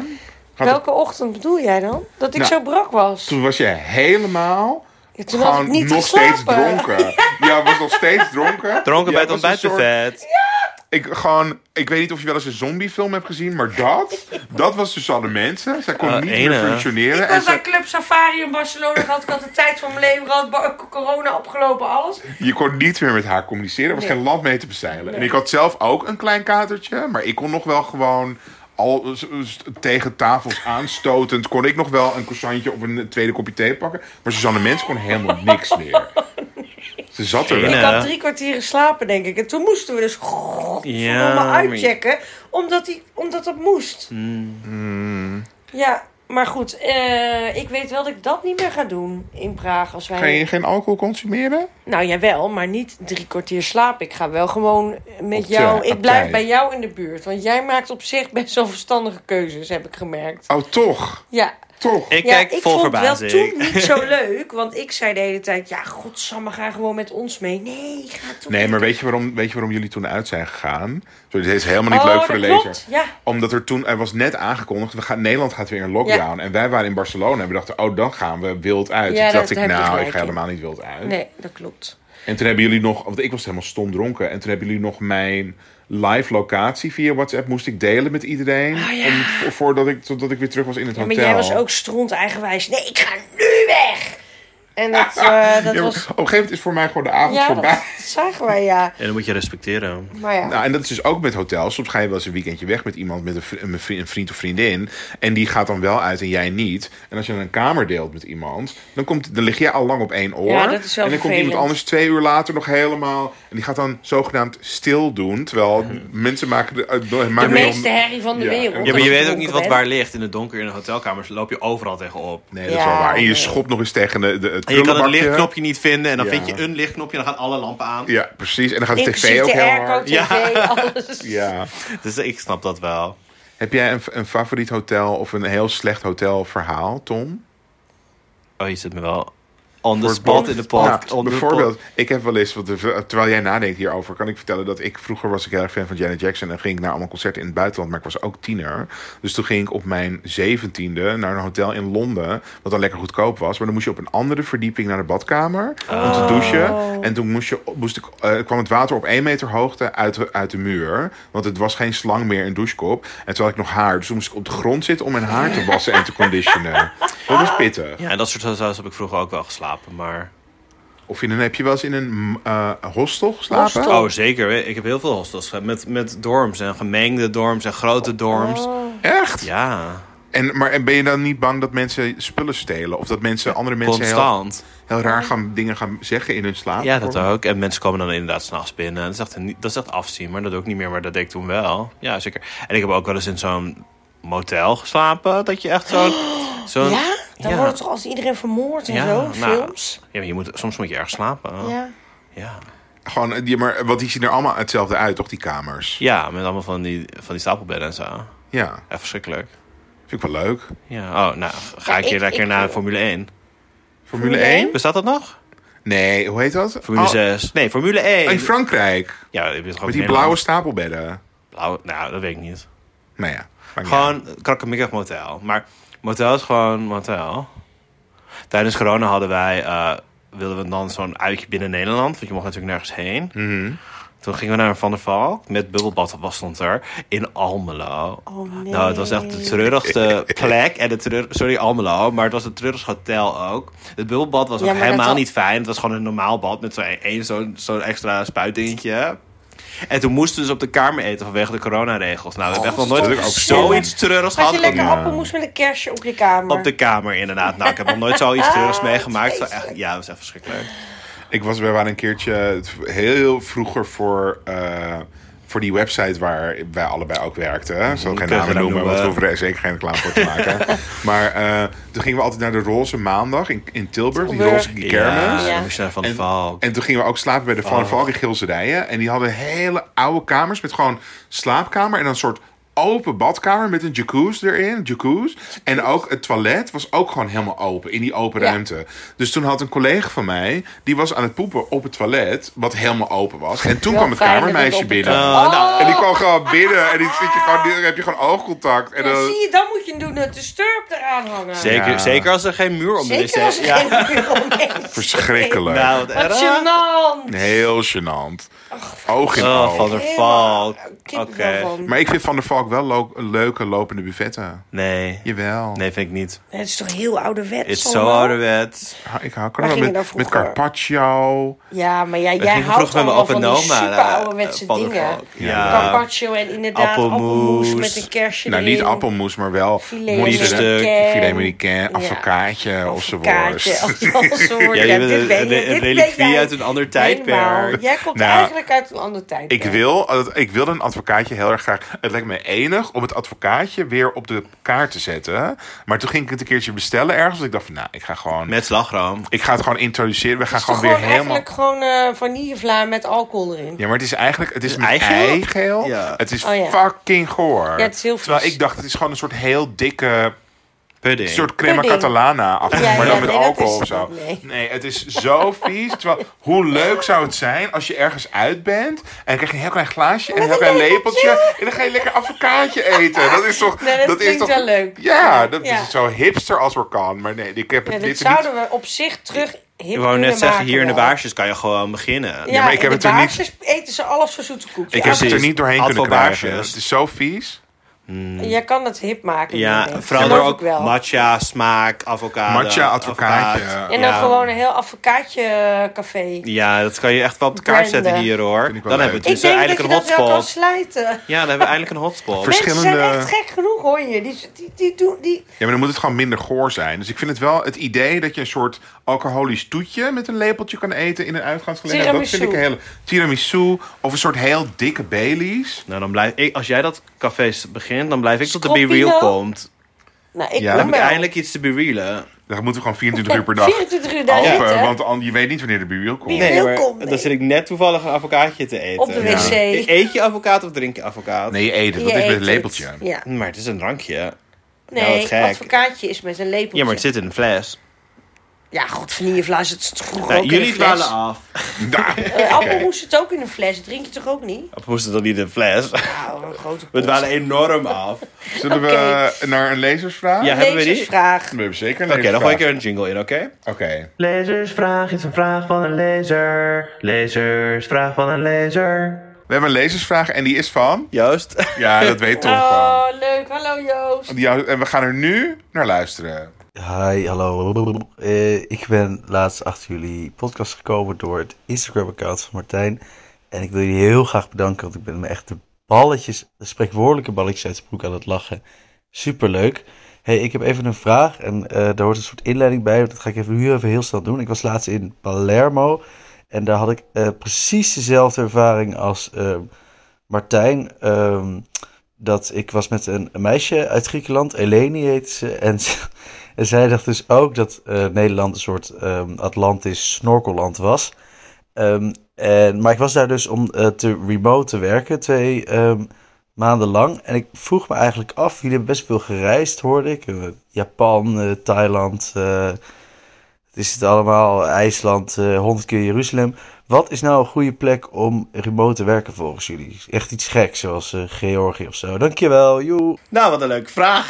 S2: Gaat het-
S3: Welke ochtend bedoel jij dan? Dat ik
S2: Nou,
S3: zo brak was.
S2: Toen was je helemaal
S3: Ja, toen had
S2: gewoon
S3: ik niet
S2: nog
S3: geslapen.
S2: steeds dronken. Ja, was nog steeds dronken.
S1: Dronken bij
S2: Jij
S1: het
S2: was een soort-
S1: ontbijtbuffet.
S2: Ik, gewoon, ik weet niet of je wel eens een zombiefilm hebt gezien, maar dat, dat was Suzanne Mensen. Zij kon
S1: Eh,
S2: niet
S1: ene.
S2: meer functioneren.
S3: Ik
S2: en
S3: was
S2: ze-
S3: naar Club Safari in Barcelona gehad. Ik had de tijd van mijn leven gehad. ba- Corona opgelopen, alles.
S2: Je kon niet meer met haar communiceren. Er was
S3: Nee.
S2: geen land mee te bezeilen. En ik had zelf ook een klein katertje. Maar ik kon nog wel gewoon... Al s- s- tegen tafels aanstotend kon ik nog wel een croissantje of een tweede kopje thee pakken. Maar Suzanne Mens kon helemaal niks meer. Ze zat er
S1: Ene.
S2: wel.
S3: Ik
S1: Ja.
S3: had drie kwartieren slapen, denk ik. En toen moesten we dus
S1: Ja,
S3: ja,
S1: maar-
S3: uitchecken. Omdat, die, omdat dat moest.
S2: Mm.
S3: Mm. Ja, maar goed. eh, ik weet wel dat ik dat niet meer ga doen in Praag. Als wij...
S2: Ga je geen alcohol consumeren?
S3: Nou jawel, maar niet drie kwartier slaap. Ik ga wel gewoon met
S2: Op de
S3: jou.
S2: partij.
S3: Ik blijf bij jou in de buurt. Want jij maakt op zich best wel verstandige keuzes, heb ik gemerkt.
S2: Oh, toch?
S3: Ja.
S2: Toch?
S1: Ik
S3: Ja,
S1: kijk
S3: ik
S1: vol
S3: vond het wel
S1: verbazing.
S3: toen niet zo leuk, want ik zei de hele tijd: ja, godsamme, ga gewoon met ons mee. Nee, ga toch.
S2: Nee, maar weet je waarom, weet je waarom jullie toen uit zijn gegaan? Sorry, dit is helemaal niet
S3: Oh,
S2: leuk voor de
S3: dat
S2: lezer.
S3: klopt, ja.
S2: Omdat er toen, er was net aangekondigd, we gaan, Nederland gaat weer in lockdown. En wij waren in Barcelona en we dachten, oh, dan gaan we wild uit.
S3: Ja,
S2: toen dacht
S3: dat-
S2: ik,
S3: daar heb je
S2: nou, ik
S3: gelijk
S2: ga
S3: in.
S2: helemaal niet wild uit.
S3: Nee, dat klopt.
S2: En toen hebben jullie nog, want ik was helemaal stom dronken. En toen hebben jullie nog mijn live locatie via WhatsApp moest ik delen met iedereen.
S3: Oh, ja.
S2: om, vo- voordat ik, totdat ik weer terug was in het
S3: Ja, maar
S2: hotel.
S3: jij was ook stront eigenwijs. Nee, ik ga nu weg. En dat, eh,
S2: Ja, maar
S3: dat was.
S2: Op een gegeven moment is voor mij gewoon de avond
S3: Ja,
S2: voorbij.
S3: dat zagen wij, ja.
S1: En dat moet je respecteren.
S3: Maar ja.
S2: Nou, en dat is dus ook met hotels. Soms ga je wel eens een weekendje weg met iemand, met een vri- een vri- een vriend of vriendin. En die gaat dan wel uit en jij niet. En als je dan een kamer deelt met iemand, dan, komt, dan lig jij al lang op één oor.
S3: Ja, dat is wel
S2: en dan komt iemand
S3: vervelend.
S2: anders twee uur later nog helemaal. En die gaat dan zogenaamd stil doen. Terwijl mensen maken de, eh, maken
S3: de
S2: om-
S3: meeste herrie van de
S2: Ja,
S3: wereld.
S2: ja,
S1: Ja, maar
S3: als
S1: je weet ook
S3: dronken
S1: niet wat
S3: bent.
S1: waar ligt. In het donker in een hotelkamer loop je overal tegenop.
S2: Nee, dat is
S3: Ja,
S2: wel waar. En je
S3: nee.
S2: schopt nog eens tegen de, de, het
S1: En je kan het
S2: prullenbakje.
S1: lichtknopje niet vinden. En dan
S2: Ja.
S1: vind je een lichtknopje en dan gaan alle lampen aan.
S2: Ja, precies. En dan gaat de
S3: Inclusief
S2: tv ook
S3: de
S2: heel
S3: airco, tv,
S2: hard.
S1: Ja.
S3: alles.
S2: Ja.
S1: Dus ik snap dat wel.
S2: Heb jij een, een favoriet hotel of een heel slecht hotel verhaal, Tom?
S1: Oh, je zit me wel on the
S2: Voor het
S1: spot
S2: bot-
S1: in de pot.
S2: Nou, bijvoorbeeld, ik heb wel eens, wat, terwijl jij nadenkt hierover, kan ik vertellen dat ik vroeger was ik heel erg fan van Janet Jackson en ging ik naar allemaal concerten in het buitenland, maar ik was ook tiener. Dus toen ging ik op mijn zeventiende naar een hotel in Londen, wat dan lekker goedkoop was, maar dan moest je op een andere verdieping naar de badkamer om
S1: Oh.
S2: te douchen. En toen moest je, moest ik, eh, kwam het water op één meter hoogte uit, de- uit de muur, want het was geen slang meer in douchekop. En toen had ik nog haar, dus toen moest ik op de grond zitten om mijn haar te wassen en te conditionen. Dat was pittig.
S1: Ja, en dat soort hotels heb ik vroeger ook wel geslapen. Maar...
S2: Of in een, heb je wel eens in een mm, eh, hostel geslapen?
S3: Hostel.
S1: Oh, zeker. Ik heb heel veel hostels gehad. Met, met dorms en gemengde dorms en
S3: Oh.
S1: grote dorms.
S2: Echt?
S1: Oh, Ja,
S2: En, maar en ben je dan niet bang dat mensen spullen stelen? Of dat mensen, andere mensen heel,
S1: constant.
S2: heel raar gaan, dingen gaan zeggen in hun slaap?
S1: Ja, dat ook. En mensen komen dan inderdaad s'nachts binnen. Dat is, echt, een- dat is echt afzien, maar dat ook niet meer. Maar dat deed ik toen wel. Ja, zeker. En ik heb ook wel eens in zo'n motel geslapen. Dat je echt zo'n... zo'n-
S3: Ja? Dan
S1: Ja.
S3: wordt toch als iedereen vermoord en
S1: Ja,
S3: zo,
S1: nou,
S3: films?
S1: Ja, maar je moet, soms moet je erg slapen.
S3: Ja.
S1: Ja,
S2: Gewoon, eh, die, maar, want die zien er allemaal hetzelfde uit, toch, die kamers?
S1: ja met allemaal van die, van die stapelbedden en zo.
S2: Ja,
S1: Echt verschrikkelijk.
S2: vind ik wel leuk.
S1: Ja. Oh, nou, ga
S3: Ja,
S1: ik hier
S3: ik-
S1: lekker
S3: ik-
S1: naar Formule 1.
S2: Formule
S3: Formule
S2: 1?
S1: Bestaat dat nog?
S2: Nee, hoe heet dat?
S1: Formule
S2: Oh,
S1: 6. Nee, Formule 1.
S2: In Frankrijk.
S1: ja, je bent gewoon
S2: Met die
S1: in
S2: blauwe
S1: Nederland.
S2: stapelbedden.
S1: Blauwe, nou, dat weet ik niet.
S2: Nou ja. maakt niet uit.
S1: Gewoon krakkemikkig motel. Maar motel is gewoon motel. Tijdens corona hadden wij... eh, wilden we dan zo'n uitje binnen Nederland. Want je mocht natuurlijk nergens heen.
S2: Mhm.
S1: Toen gingen we naar Van der Valk. Met bubbelbad was stond er. In Almelo.
S3: Oh nee.
S1: Nou, het was echt de treurigste plek. En de treur... Sorry, Almelo. Maar het was een treurig hotel ook. Het bubbelbad was
S3: Ja,
S1: ook
S3: maar dat
S1: helemaal
S3: had-
S1: niet fijn. Het was gewoon een normaal bad. Met zo'n één zo'n zo'n extra spuitdingetje. En toen moesten we dus op de kamer eten vanwege de coronaregels. Nou, we hebben echt nog
S2: dat is
S1: nooit
S2: Oh, ook
S1: zoiets treurigs
S3: Had
S1: gehad.
S3: je lekker
S1: op-
S3: appelmoes met een kerstje op je kamer?
S1: Op de kamer, inderdaad. Nou, ik heb nog nooit zoiets treurigs
S3: Ah,
S1: meegemaakt.
S3: vreselijk.
S1: Echt, ja, dat was echt verschrikkelijk.
S2: Ik was, we waren een keertje het- heel vroeger voor, eh, voor die website waar wij allebei ook werkten. Ik zal geen
S1: Mhm. kunnen we
S2: namen
S1: dat
S2: noemen, want we
S1: noemen?
S2: hoeven er zeker geen reclame voor te maken. maar eh, toen gingen we altijd naar de Roze Maandag in, in Tilburg, die
S3: Tilburg.
S2: roze kermis.
S1: Ja,
S3: Ja.
S1: dan moest je naar Van der Valk. Oh.
S2: En toen gingen we ook slapen bij de Van der Valk in Gilserijen. En die hadden hele oude kamers met gewoon slaapkamer en een soort open badkamer met een jacuzzi erin. Jacuzzi. En ook het toilet was ook gewoon helemaal open in die open
S3: Ja.
S2: ruimte. Dus toen had een collega van mij, die was aan het poepen op het toilet, wat helemaal open was. En toen
S3: Wel
S2: kwam het
S3: fijn dat
S2: kamermeisje
S3: het op het
S2: binnen.
S1: toilet- Oh,
S2: En die kwam gewoon binnen en die zit je gewoon, dan heb je gewoon oogcontact. En
S3: Ja,
S2: dan,
S3: zie je, dan moet je doen dat de sturp eraan hangen.
S1: Zeker,
S2: Ja.
S1: zeker als er geen muur op de wc
S3: Zeker als er
S1: Ja.
S3: geen muur is.
S2: verschrikkelijk.
S1: Nou, wat
S3: Wat
S1: erg.
S3: gênant.
S2: Heel gênant. Oog in
S1: Oh,
S2: oog.
S1: Van der
S3: nou- Helemaal
S1: Valk.
S3: kippenvel
S1: Oké.
S3: van.
S2: Maar ik vind Van der Valk wel lo- leuke lopende buffetten.
S1: Nee.
S2: Jawel.
S1: Nee, vind ik niet.
S3: Nee, Het is toch heel ouderwets
S1: Het is zo
S3: allemaal?
S1: ouderwets.
S2: Ha- Ik hou ook
S3: Waar
S2: nog
S3: ging je
S2: wel
S3: dan
S2: met, met
S3: vroeger?
S2: carpaccio.
S3: Ja, maar ja, jij
S1: gingen
S3: houdt
S1: vroeger met mijn
S3: allemaal van
S1: opa
S3: die
S1: en oma
S3: super
S1: naar, eh,
S3: ouderwetse
S1: Van der
S3: dingen.
S1: Valk. Ja.
S3: Carpaccio en inderdaad appelmoes,
S1: Appelmoes.
S3: met een kersje
S2: Nou,
S3: erin.
S2: niet appelmoes, maar wel
S3: Filet
S2: mozzarella-
S1: Biefstuk.
S2: Filet américain, avocatje of zo
S3: Kaartje,
S2: worst.
S1: Ja,
S3: assenworst.
S1: je
S3: Ja,
S1: bent
S3: dit
S1: een-
S3: ben
S1: een-
S3: je,
S1: een
S3: dit ben
S1: reliquie
S3: jij.
S1: uit een ander tijdperk.
S3: Helemaal. Jij komt
S2: Nou,
S3: eigenlijk uit een ander tijdperk.
S2: Ik wil, eh, ik wil een advocaatje heel erg graag. Het lijkt me enig om het advocaatje weer op de kaart te zetten. Maar toen ging ik het een keertje bestellen ergens. Dus ik dacht van, nou, ik ga gewoon...
S1: Met slagroom.
S2: Ik ga het gewoon introduceren. We gaan
S3: Het is toch
S2: gewoon
S3: gewoon
S2: weer helemaal...
S3: eigenlijk gewoon eh, vanillevla met alcohol erin.
S2: Ja, maar het is eigenlijk... Het is
S1: is
S2: met
S1: eigeel?
S2: eigeel.
S1: Ja.
S2: Het is
S3: Oh, ja.
S2: fucking goor.
S3: Ja, het is heel vies.
S2: Terwijl ik dacht, het is gewoon een soort heel dikke...
S6: Pudding.
S2: Een soort crema
S3: Pudding.
S2: catalana achter,
S3: Ja,
S2: maar dan
S3: ja,
S2: met
S3: nee, dat
S2: alcohol
S3: is
S2: of zo.
S3: het niet, nee.
S2: het is zo vies. Terwijl, hoe leuk zou het zijn als je ergens uit bent en dan krijg je een heel klein glaasje en een heel
S3: Met een
S2: klein
S3: lepeltje.
S2: lepeltje en dan ga je lekker avocadje eten. Dat is toch...
S3: Nee, dat
S2: is
S3: klinkt
S2: toch,
S3: wel leuk.
S2: Ja, dat dus
S3: Ja.
S2: is zo hipster als we kan. Maar nee, ik heb het
S3: Ja,
S2: dit is
S3: dit zouden we op zich terug hip
S1: Ik wou net
S3: kunnen
S1: zeggen,
S3: maken
S1: hier in de
S3: wel.
S1: baarsjes kan je gewoon beginnen.
S3: Ja,
S2: maar ik heb
S3: in de
S2: het er niet-
S3: baarsjes eten ze alles voor zoete koekjes.
S2: Ik heb het er
S1: precies.
S2: niet doorheen
S1: Had
S2: kunnen
S1: wel
S2: krijgen.
S1: baarsjes.
S2: Het is zo vies.
S3: Je kan het hip maken. denk
S1: Ja,
S3: ik.
S1: vooral
S3: Geloof
S1: door
S3: ik
S1: ook
S3: wel.
S1: matcha, smaak, avocado.
S2: Matcha, advocaatje.
S1: avocaat.
S3: En dan
S1: Ja.
S3: gewoon een heel advocaatje eh, café.
S1: Ja, dat kan je echt wel op de kaart
S3: Branden.
S1: zetten hier hoor. Dan
S2: ik wel
S1: hebben we
S2: leuk.
S1: het
S3: Ik
S1: dus
S3: denk dat
S1: eigenlijk
S3: je
S1: een
S3: dat wel kan
S1: hotspot.
S3: sluiten.
S1: Ja, dan hebben we eigenlijk een hotspot.
S2: Vers-
S3: Mensen zijn
S2: Verschillende-
S3: echt gek genoeg, hoor je. Die, die, die, doen, die...
S2: Ja, maar dan moet het gewoon minder goor zijn. Dus ik vind het wel het idee dat je een soort alcoholisch toetje met een lepeltje kan eten in een uitgaansgelegenheid. Dat vind ik een
S3: Tiramisu.
S2: hele tiramisu of een soort heel dikke Baileys.
S1: Nou, dan blijf ik, als jij dat café begint, dan blijf ik tot de Be
S3: Scorpino?
S1: Real komt.
S3: Nou, ik
S1: Dan
S2: Ja,
S3: kom
S1: heb ik
S3: wel.
S1: eindelijk iets te berealen.
S2: Dan moeten we gewoon 24 uur per dag
S3: 24 uur daar
S2: open,
S3: zitten.
S2: want an- je weet niet wanneer de buur komt.
S3: Nee.
S2: Nee.
S3: Welkom, nee.
S1: dan zit ik net toevallig een avocatje te eten.
S3: Op de wc.
S1: Eet je avocado of drink je avocado?
S2: je eet het, dat
S3: Je
S2: is
S3: eet
S2: met
S3: het.
S2: een lepeltje.
S3: Ja.
S1: Maar het is een drankje.
S3: Nee,
S1: Nou, wat gek.
S3: advocaatje is met een lepeltje.
S1: Ja, maar het zit in een fles.
S3: Ja, god, vanillevlaas, het is vroeger
S1: Nou,
S3: ook in
S1: jullie
S3: een fles.
S1: dwalen af.
S2: Nou,
S3: Eh, Appelmoes zit ook in een fles. Dat drink je toch ook niet?
S1: Of moest het dan niet in een fles?
S3: Nou, een grote
S1: We
S3: pot.
S1: dwalen enorm af. Oké,
S2: zullen we naar een lezersvraag?
S1: Ja. hebben we die?
S3: Lezersvraag.
S2: We hebben zeker een
S1: dan
S2: lezersvraag.
S1: gooi ik er een jingle in, oké?
S2: Oké.
S5: Lezersvraag is een vraag van een lezer. Lezersvraag van een lezer.
S2: We hebben een lezersvraag en die is van...
S1: Joost?
S2: Ja, dat weet Tom gewoon.
S3: Oh, leuk. Hallo Joost.
S2: Die- En we gaan er nu naar luisteren.
S7: Hi, hallo. Eh, ik ben laatst achter jullie podcast gekomen door het Instagram-account van Martijn. En ik wil jullie heel graag bedanken, want ik ben me echt de balletjes, de spreekwoordelijke balletjes uit de broek aan het lachen. Superleuk. hey, ik heb even een vraag en eh, daar hoort een soort inleiding bij, want dat ga ik even, nu even heel snel doen. Ik was laatst in Palermo en daar had ik eh, precies dezelfde ervaring als ehm, Martijn. Ehm, dat ik was met een meisje uit Griekenland, Eleni heet ze, en ze... En zij dacht dus ook dat eh, Nederland een soort ehm, Atlantisch snorkelland was. Ehm, en, maar ik was daar dus om eh, te remote te werken, twee ehm, maanden lang. En ik vroeg me eigenlijk af, jullie hebben best veel gereisd, hoorde ik. Eh, Japan, eh, Thailand, eh, het is het allemaal, IJsland, eh, honderd 100 keer Jeruzalem. Wat is nou een goede plek om remote te werken volgens jullie? Echt iets geks, zoals eh, Georgië of zo. Dankjewel, joe!
S1: Nou, wat een leuke vraag.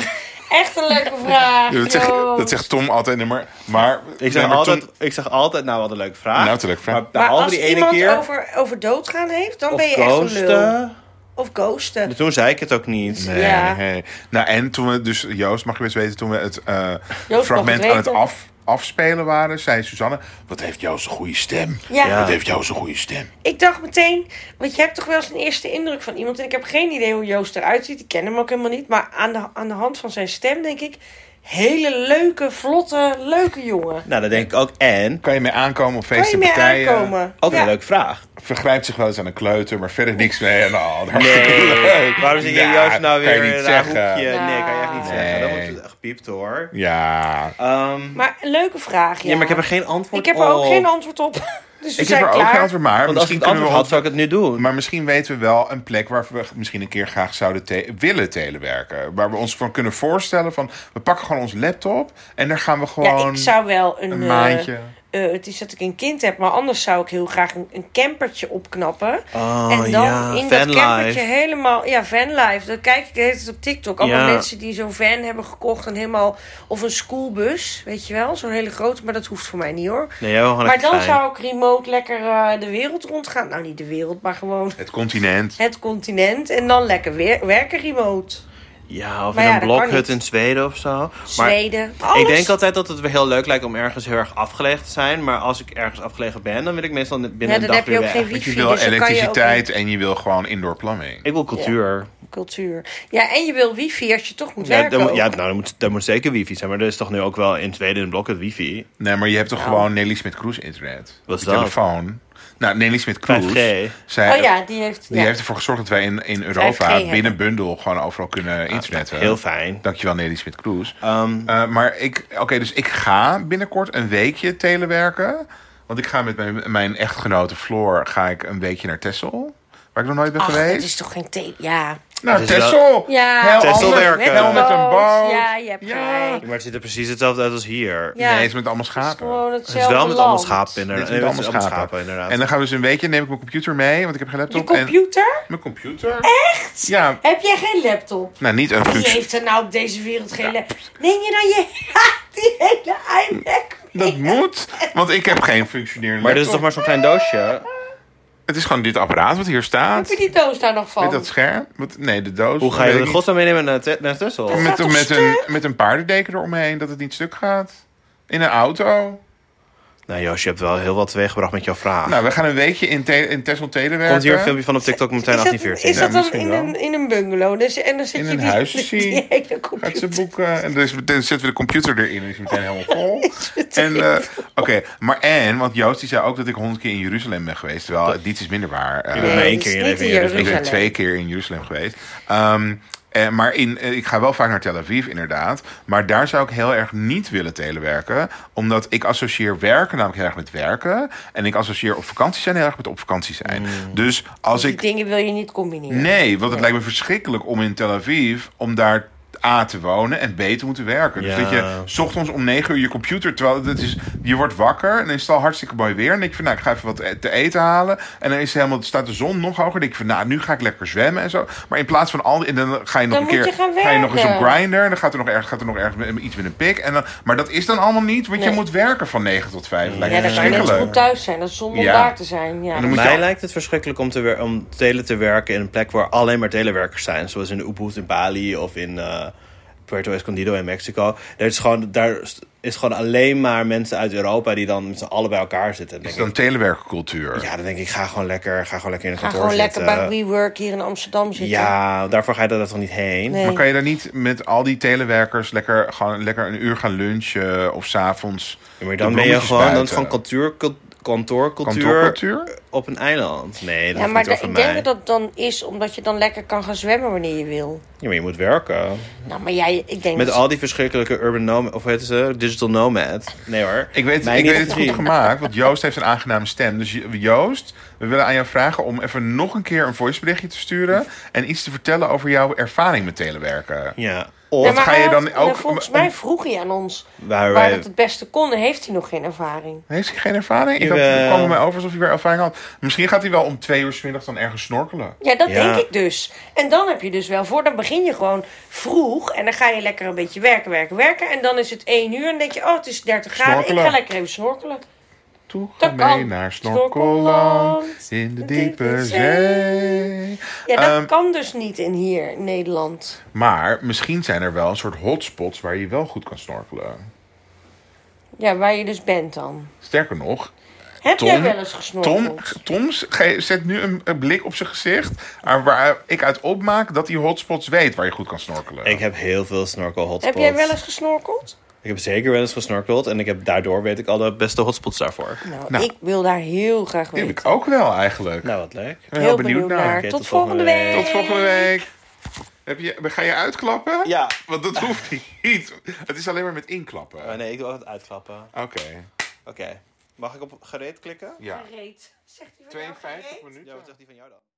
S3: Echt een leuke vraag,
S2: Ja, dat, zegt,
S3: Joost.
S2: dat zegt Tom altijd. nee, Maar, maar,
S1: Ik zeg,
S2: nee, maar
S1: altijd,
S2: Tom-
S1: ik zeg altijd, nou, wat een leuke vraag.
S2: Nou, wat een leuke vraag.
S1: Maar
S3: Maar
S1: behalve
S3: als
S1: die ene
S3: iemand
S1: keer...
S3: over, over doodgaan heeft, dan
S1: of
S3: ben je echt een lul.
S1: ghosten.
S3: Of ghosten.
S1: Toen zei ik het ook niet.
S2: Nee,
S3: Ja.
S2: nee. Nou, en toen we dus, Joost, mag je best weten, toen we het eh,
S3: mag
S2: fragment
S3: het
S2: aan het
S3: weten.
S2: af, afspelen waren, zei Suzanne: Wat heeft Joost een goede stem?
S3: Ja.
S2: Wat heeft Joost een goede stem?
S3: Ik dacht meteen, want je hebt toch wel eens een eerste indruk van iemand. En ik heb geen idee hoe Joost eruit ziet. Ik ken hem ook helemaal niet. Maar aan de, aan de hand van zijn stem denk ik... Hele leuke, vlotte, leuke jongen.
S1: Nou, dan denk ik ook, en...
S2: Kan je mee aankomen op
S3: Kan
S2: feesten
S3: je
S2: en
S3: mee
S2: partijen?
S3: aankomen?
S1: Ook een
S3: Ja.
S1: leuke vraag.
S2: Vergrijpt zich wel eens aan een kleuter, maar verder niks mee. En, oh, dat-
S1: Waarom zeg je
S2: Ja,
S1: Joost nou
S2: kan je
S1: weer
S2: niet
S1: een raar
S2: zeggen.
S1: hoekje? Nee, kan je echt niet
S2: Nee.
S1: zeggen. Dan wordt het gepiept hoor.
S2: Ja,
S1: Ehm,
S3: Maar een leuke vraag, ja.
S1: ja. maar ik heb er geen
S3: Ik
S1: antwoord
S3: heb
S1: op.
S3: er ook geen antwoord op. Dus
S2: Oh.
S3: we
S2: ik
S3: zijn
S2: heb er
S3: klaar.
S2: ook geen antwoord, maar
S1: Want als ik
S2: misschien
S1: het
S2: kunnen we
S1: antwoord had,
S2: ons.
S1: zou ik het nu doen.
S2: Maar misschien weten we wel een plek waar we misschien een keer graag zouden te- willen telewerken. Waar we ons van kunnen voorstellen van... we pakken gewoon ons laptop en daar gaan we gewoon...
S3: Ja, ik zou wel een,
S2: een
S3: eh,
S2: maandje.
S3: eh, het is dat ik een kind heb, maar anders zou ik heel graag een, een campertje opknappen.
S1: Oh,
S3: en dan
S1: ja,
S3: in dat
S1: vanlife.
S3: campertje helemaal. Ja, vanlife. Dat kijk ik de hele tijd op TikTok. Allemaal
S1: Ja.
S3: mensen die zo'n van hebben gekocht en helemaal. Of een schoolbus, weet je wel. Zo'n hele grote, maar dat hoeft voor mij niet hoor.
S1: Nee, jij wil gewoon
S3: maar
S1: echt
S3: dan
S1: klein.
S3: zou ik remote lekker eh, de wereld rondgaan. Nou, niet de wereld, maar gewoon
S2: Het continent.
S3: het continent. En dan lekker weer, werken remote.
S1: Ja, of
S3: Maar
S1: in
S3: ja,
S1: een
S3: dat kan
S1: blokhut
S3: niet.
S1: in Zweden of zo. Maar
S3: Zweden. Alles.
S1: Ik denk altijd dat het wel heel leuk lijkt om ergens heel erg afgelegen te zijn. Maar als ik ergens afgelegen ben, dan wil ik meestal net binnen
S3: Ja,
S1: een
S3: dan
S1: dag
S3: heb je
S1: weer
S3: ook
S1: weg.
S3: geen
S2: Want
S3: wifi.
S2: je wil
S3: dus dan kan je ook
S2: elektriciteit en je wil gewoon indoor plumbing.
S1: Ik wil cultuur.
S3: niet- cultuur. Ja, en je wil wifi als je toch moet
S1: Ja,
S3: werken.
S1: dan, moet- ja
S3: ook.
S1: nou, dan moet, dan moet zeker wifi zijn. Maar er is toch nu ook wel in Zweden een blokhut wifi?
S2: Nee, maar je hebt
S3: Nou.
S2: toch gewoon Nelly Smit Cruise internet?
S1: Wat is
S2: Je
S1: dat?
S2: telefoon. Nou, Nelly Smit Cruise.
S1: 5G.
S2: Zij,
S3: Oh ja, die heeft.
S2: Eh, Die
S3: ja.
S2: heeft ervoor gezorgd dat wij in, in Europa
S3: 5G
S2: binnen bundel gewoon overal kunnen internetten.
S1: Ah, Heel fijn.
S2: Dankjewel Nelly Smit Cruise.
S1: Ehm,
S2: Eh, maar ik, oké, dus ik ga binnenkort een weekje telewerken. Want ik ga met mijn, mijn echtgenote Floor ga ik een weekje naar Texel. Waar ik nog nooit ben
S3: Ach, dat
S2: geweest.
S3: is toch geen thee? Ja.
S2: Nou,
S1: Het is
S2: Tessel.
S3: Ja,
S2: Heel
S1: Tessel
S2: anders.
S1: werken.
S2: Heel
S1: Met
S2: met een boot.
S3: Ja, je hebt
S2: Ja.
S3: gelijk.
S1: Maar het ziet er precies hetzelfde uit als hier.
S3: Ja.
S2: Nee, het is met allemaal
S3: Het is
S2: schapen.
S3: gewoon
S1: Het is
S3: hetzelfde
S1: wel met allemaal
S3: land.
S1: schapen
S2: Dit
S1: inderdaad.
S2: is
S1: Nee,
S2: met allemaal
S1: allemaal
S2: schapen.
S1: schapen inderdaad.
S2: En dan gaan we dus een weekje, neem ik mijn computer mee, want ik heb geen
S3: Je
S2: laptop. en
S3: computer?
S2: mijn computer?
S3: Echt?
S2: Ja,
S3: Heb jij geen laptop?
S2: nou niet een
S3: Wie
S2: functie.
S3: heeft er nou op deze wereld geen laptop? Neem je dan je die hele iMac mee?
S2: Dat moet, want ik heb geen functionerende
S8: Maar dit is toch
S2: laptop.
S8: maar zo'n klein doosje?
S2: Het is gewoon dit apparaat wat hier
S3: Heb
S2: staat.
S3: je die doos daar nog van?
S2: Met dat scherm. Wat- nee, de doos.
S1: Hoe ga je
S2: Weet
S1: de
S2: ik
S1: godsnaam meenemen naar, Te- naar Texel?
S2: niet.
S3: Dat
S2: met,
S3: gaat
S2: een-
S3: toch
S2: met, een, met een paardendeken eromheen, dat het niet stuk gaat. In een auto.
S1: Nou Jos, je hebt wel heel wat teweeggebracht met jouw vraag.
S2: Nou, we gaan een weekje in, Te- in Texel telewerken.
S1: Komt hier een filmpje van op TikTok meteen
S3: is dat,
S1: 1814.
S3: is dat dan
S2: misschien
S3: in
S2: wel.
S3: een, in een bungalow? Dus, en dan zit
S2: In
S3: je
S2: een
S3: die,
S2: huisje.
S3: die hele
S2: Gaat
S3: computer.
S2: ze boeken. En dus meteen zetten we de computer erin. Dan is hij meteen helemaal vol. en, eh, Oké, maar en, want Joost die zei ook dat ik honderd keer in Jeruzalem ben geweest. Terwijl, dit is minder waar. Eh,
S1: bent maar één keer in je
S3: dat is
S1: leven in je
S2: Ik
S3: niet
S2: ben
S3: Jeruzalem.
S2: twee keer in Jeruzalem geweest. Ehm, eh, maar in, eh, ik ga wel vaak naar Tel Aviv, inderdaad. Maar daar zou ik heel erg niet willen telewerken. Omdat ik associeer werken namelijk heel erg met werken. En ik associeer op vakantie zijn heel erg met op vakantie zijn. Dus als
S3: Die
S2: ik
S3: dingen wil je niet combineren.
S2: Nee, want het lijkt me verschrikkelijk om in Tel Aviv om daar A te wonen en B te moeten werken. Dus
S1: Ja.
S2: dat je 's ochtends om 9 uur je computer, terwijl het is, je wordt wakker en dan is het al hartstikke mooi weer. En dan denk je van, nou, ik ga even wat e- te eten halen. En dan is het helemaal, staat de zon nog hoger. Dan denk je van, nou, nu ga ik lekker zwemmen en zo. Maar in plaats van al die, en dan ga je nog
S3: Dan
S2: een keer,
S3: moet je gaan
S2: ga je nog eens op
S3: werken.
S2: grinder. En dan gaat er nog erg, gaat er nog erg met- met iets met een pik. En dan, maar dat is dan allemaal niet, want je
S3: Nee.
S2: moet werken van 9 tot 5. Dat lijkt
S3: Ja,
S2: me
S3: dan kan je net zo
S2: verschrikkelijk.
S3: goed thuis zijn. Dat is zonde om
S2: Ja.
S3: daar te zijn. Ja.
S2: En dan moet je
S1: Mij
S2: al-
S1: lijkt het verschrikkelijk om, te wer- om tele te werken in een plek waar alleen maar telewerkers zijn. Zoals in Ubud in Bali of in eh, Puerto Escondido in Mexico. Daar is, gewoon, daar is gewoon alleen maar mensen uit Europa die dan met z'n allen bij elkaar zitten. Dan
S2: Het is
S1: denk
S2: dan
S1: ik,
S2: telewerkcultuur.
S1: ja, dan denk ik, ga gewoon lekker, ga gewoon lekker in een
S3: Ga
S1: kantoor
S3: gewoon lekker
S1: zitten.
S3: bij WeWork hier in Amsterdam zitten.
S1: ja, daarvoor ga je daar toch niet heen?
S3: Nee.
S2: Maar kan je daar niet met al die telewerkers lekker, gewoon lekker een uur gaan lunchen of s'avonds?
S1: Ja, maar dan ben je gewoon, dan is gewoon cultuur, cult- kantoorcultuur
S2: kantoorcultuur.
S1: op een eiland. Nee, dat
S3: Ja,
S1: is
S3: maar
S1: niet
S3: da-
S1: over
S3: ik
S1: mij.
S3: denk dat dat dan is omdat je dan lekker kan gaan zwemmen wanneer je wil.
S1: Ja, maar je moet werken.
S3: Nou, maar jij, ik denk...
S1: Met
S3: dat-
S1: al die verschrikkelijke urban nomad, of heet ze, digital nomad. Nee hoor.
S2: Ik weet,
S1: Mij
S2: ik
S1: niet
S2: weet het goed
S1: gezien.
S2: gemaakt, want Joost heeft een aangename stem. Dus Jo- Joost, we willen aan jou vragen om even nog een keer een voiceberichtje te sturen en iets te vertellen over jouw ervaring met telewerken.
S1: Ja.
S3: Nee,
S1: Of
S3: maar
S2: ga je
S3: hij
S2: dan
S3: had-
S2: ook-
S3: Volgens mij vroeg hij aan ons
S1: waar
S3: waar
S1: wij...
S3: het het beste kon. En heeft hij nog geen ervaring.
S2: Heeft hij geen ervaring? Ik had,
S1: Jawel.
S2: het kwam bij mij over alsof hij weer ervaring had. Misschien gaat hij wel om twee uur 's middags dan ergens snorkelen.
S3: Ja, dat
S1: Ja.
S3: denk ik dus. En dan heb je dus wel voor, dan begin je gewoon vroeg. En dan ga je lekker een beetje werken, werken, werken. En dan is het één uur en dan denk je, oh, het is 30 graden. Ik
S2: Snorkelen.
S3: ga lekker even snorkelen.
S2: Toe
S3: Dat
S2: ga mee
S3: kan.
S2: naar
S3: Snorkelland,
S2: Snorkelland in de diepe zee.
S3: Ja, dat
S2: Ehm,
S3: kan dus niet in hier, in Nederland.
S2: Maar misschien zijn er wel een soort hotspots waar je wel goed kan snorkelen.
S3: Ja, waar je dus bent dan.
S2: Sterker nog,
S3: Heb
S2: Tom-
S3: jij wel eens
S2: Tom,
S3: gesnorkeld?
S2: Tom ge- zet nu een, een blik op zijn gezicht. aan Waar ik uit opmaak dat hij hotspots weet waar je goed kan snorkelen.
S1: Ik heb heel veel snorkel hotspots.
S3: Heb jij wel eens gesnorkeld?
S1: Ik heb zeker wel eens gesnorkeld. En ik heb, daardoor weet ik al de beste hotspots daarvoor.
S3: Nou,
S2: Nou.
S3: ik wil daar heel graag
S2: Die
S3: weten.
S2: heb ik ook wel eigenlijk.
S1: Nou, wat leuk.
S2: ik ben heel benieuwd naar.
S1: Oké,
S3: Tot,
S1: tot
S3: volgende
S1: volgende
S3: week.
S1: week.
S2: eh, Tot volgende week. Heb je, ga je uitklappen?
S1: Ja.
S2: Want dat hoeft niet. Het is alleen maar met inklappen.
S1: Oh, nee, ik wil altijd uitklappen.
S2: Oké.
S1: Oké. Mag ik op gereed klikken?
S2: Ja.
S3: Reet. Zegt hij wel
S2: 52
S3: gereed?
S2: minuten.
S1: Ja, wat zegt die van jou dan?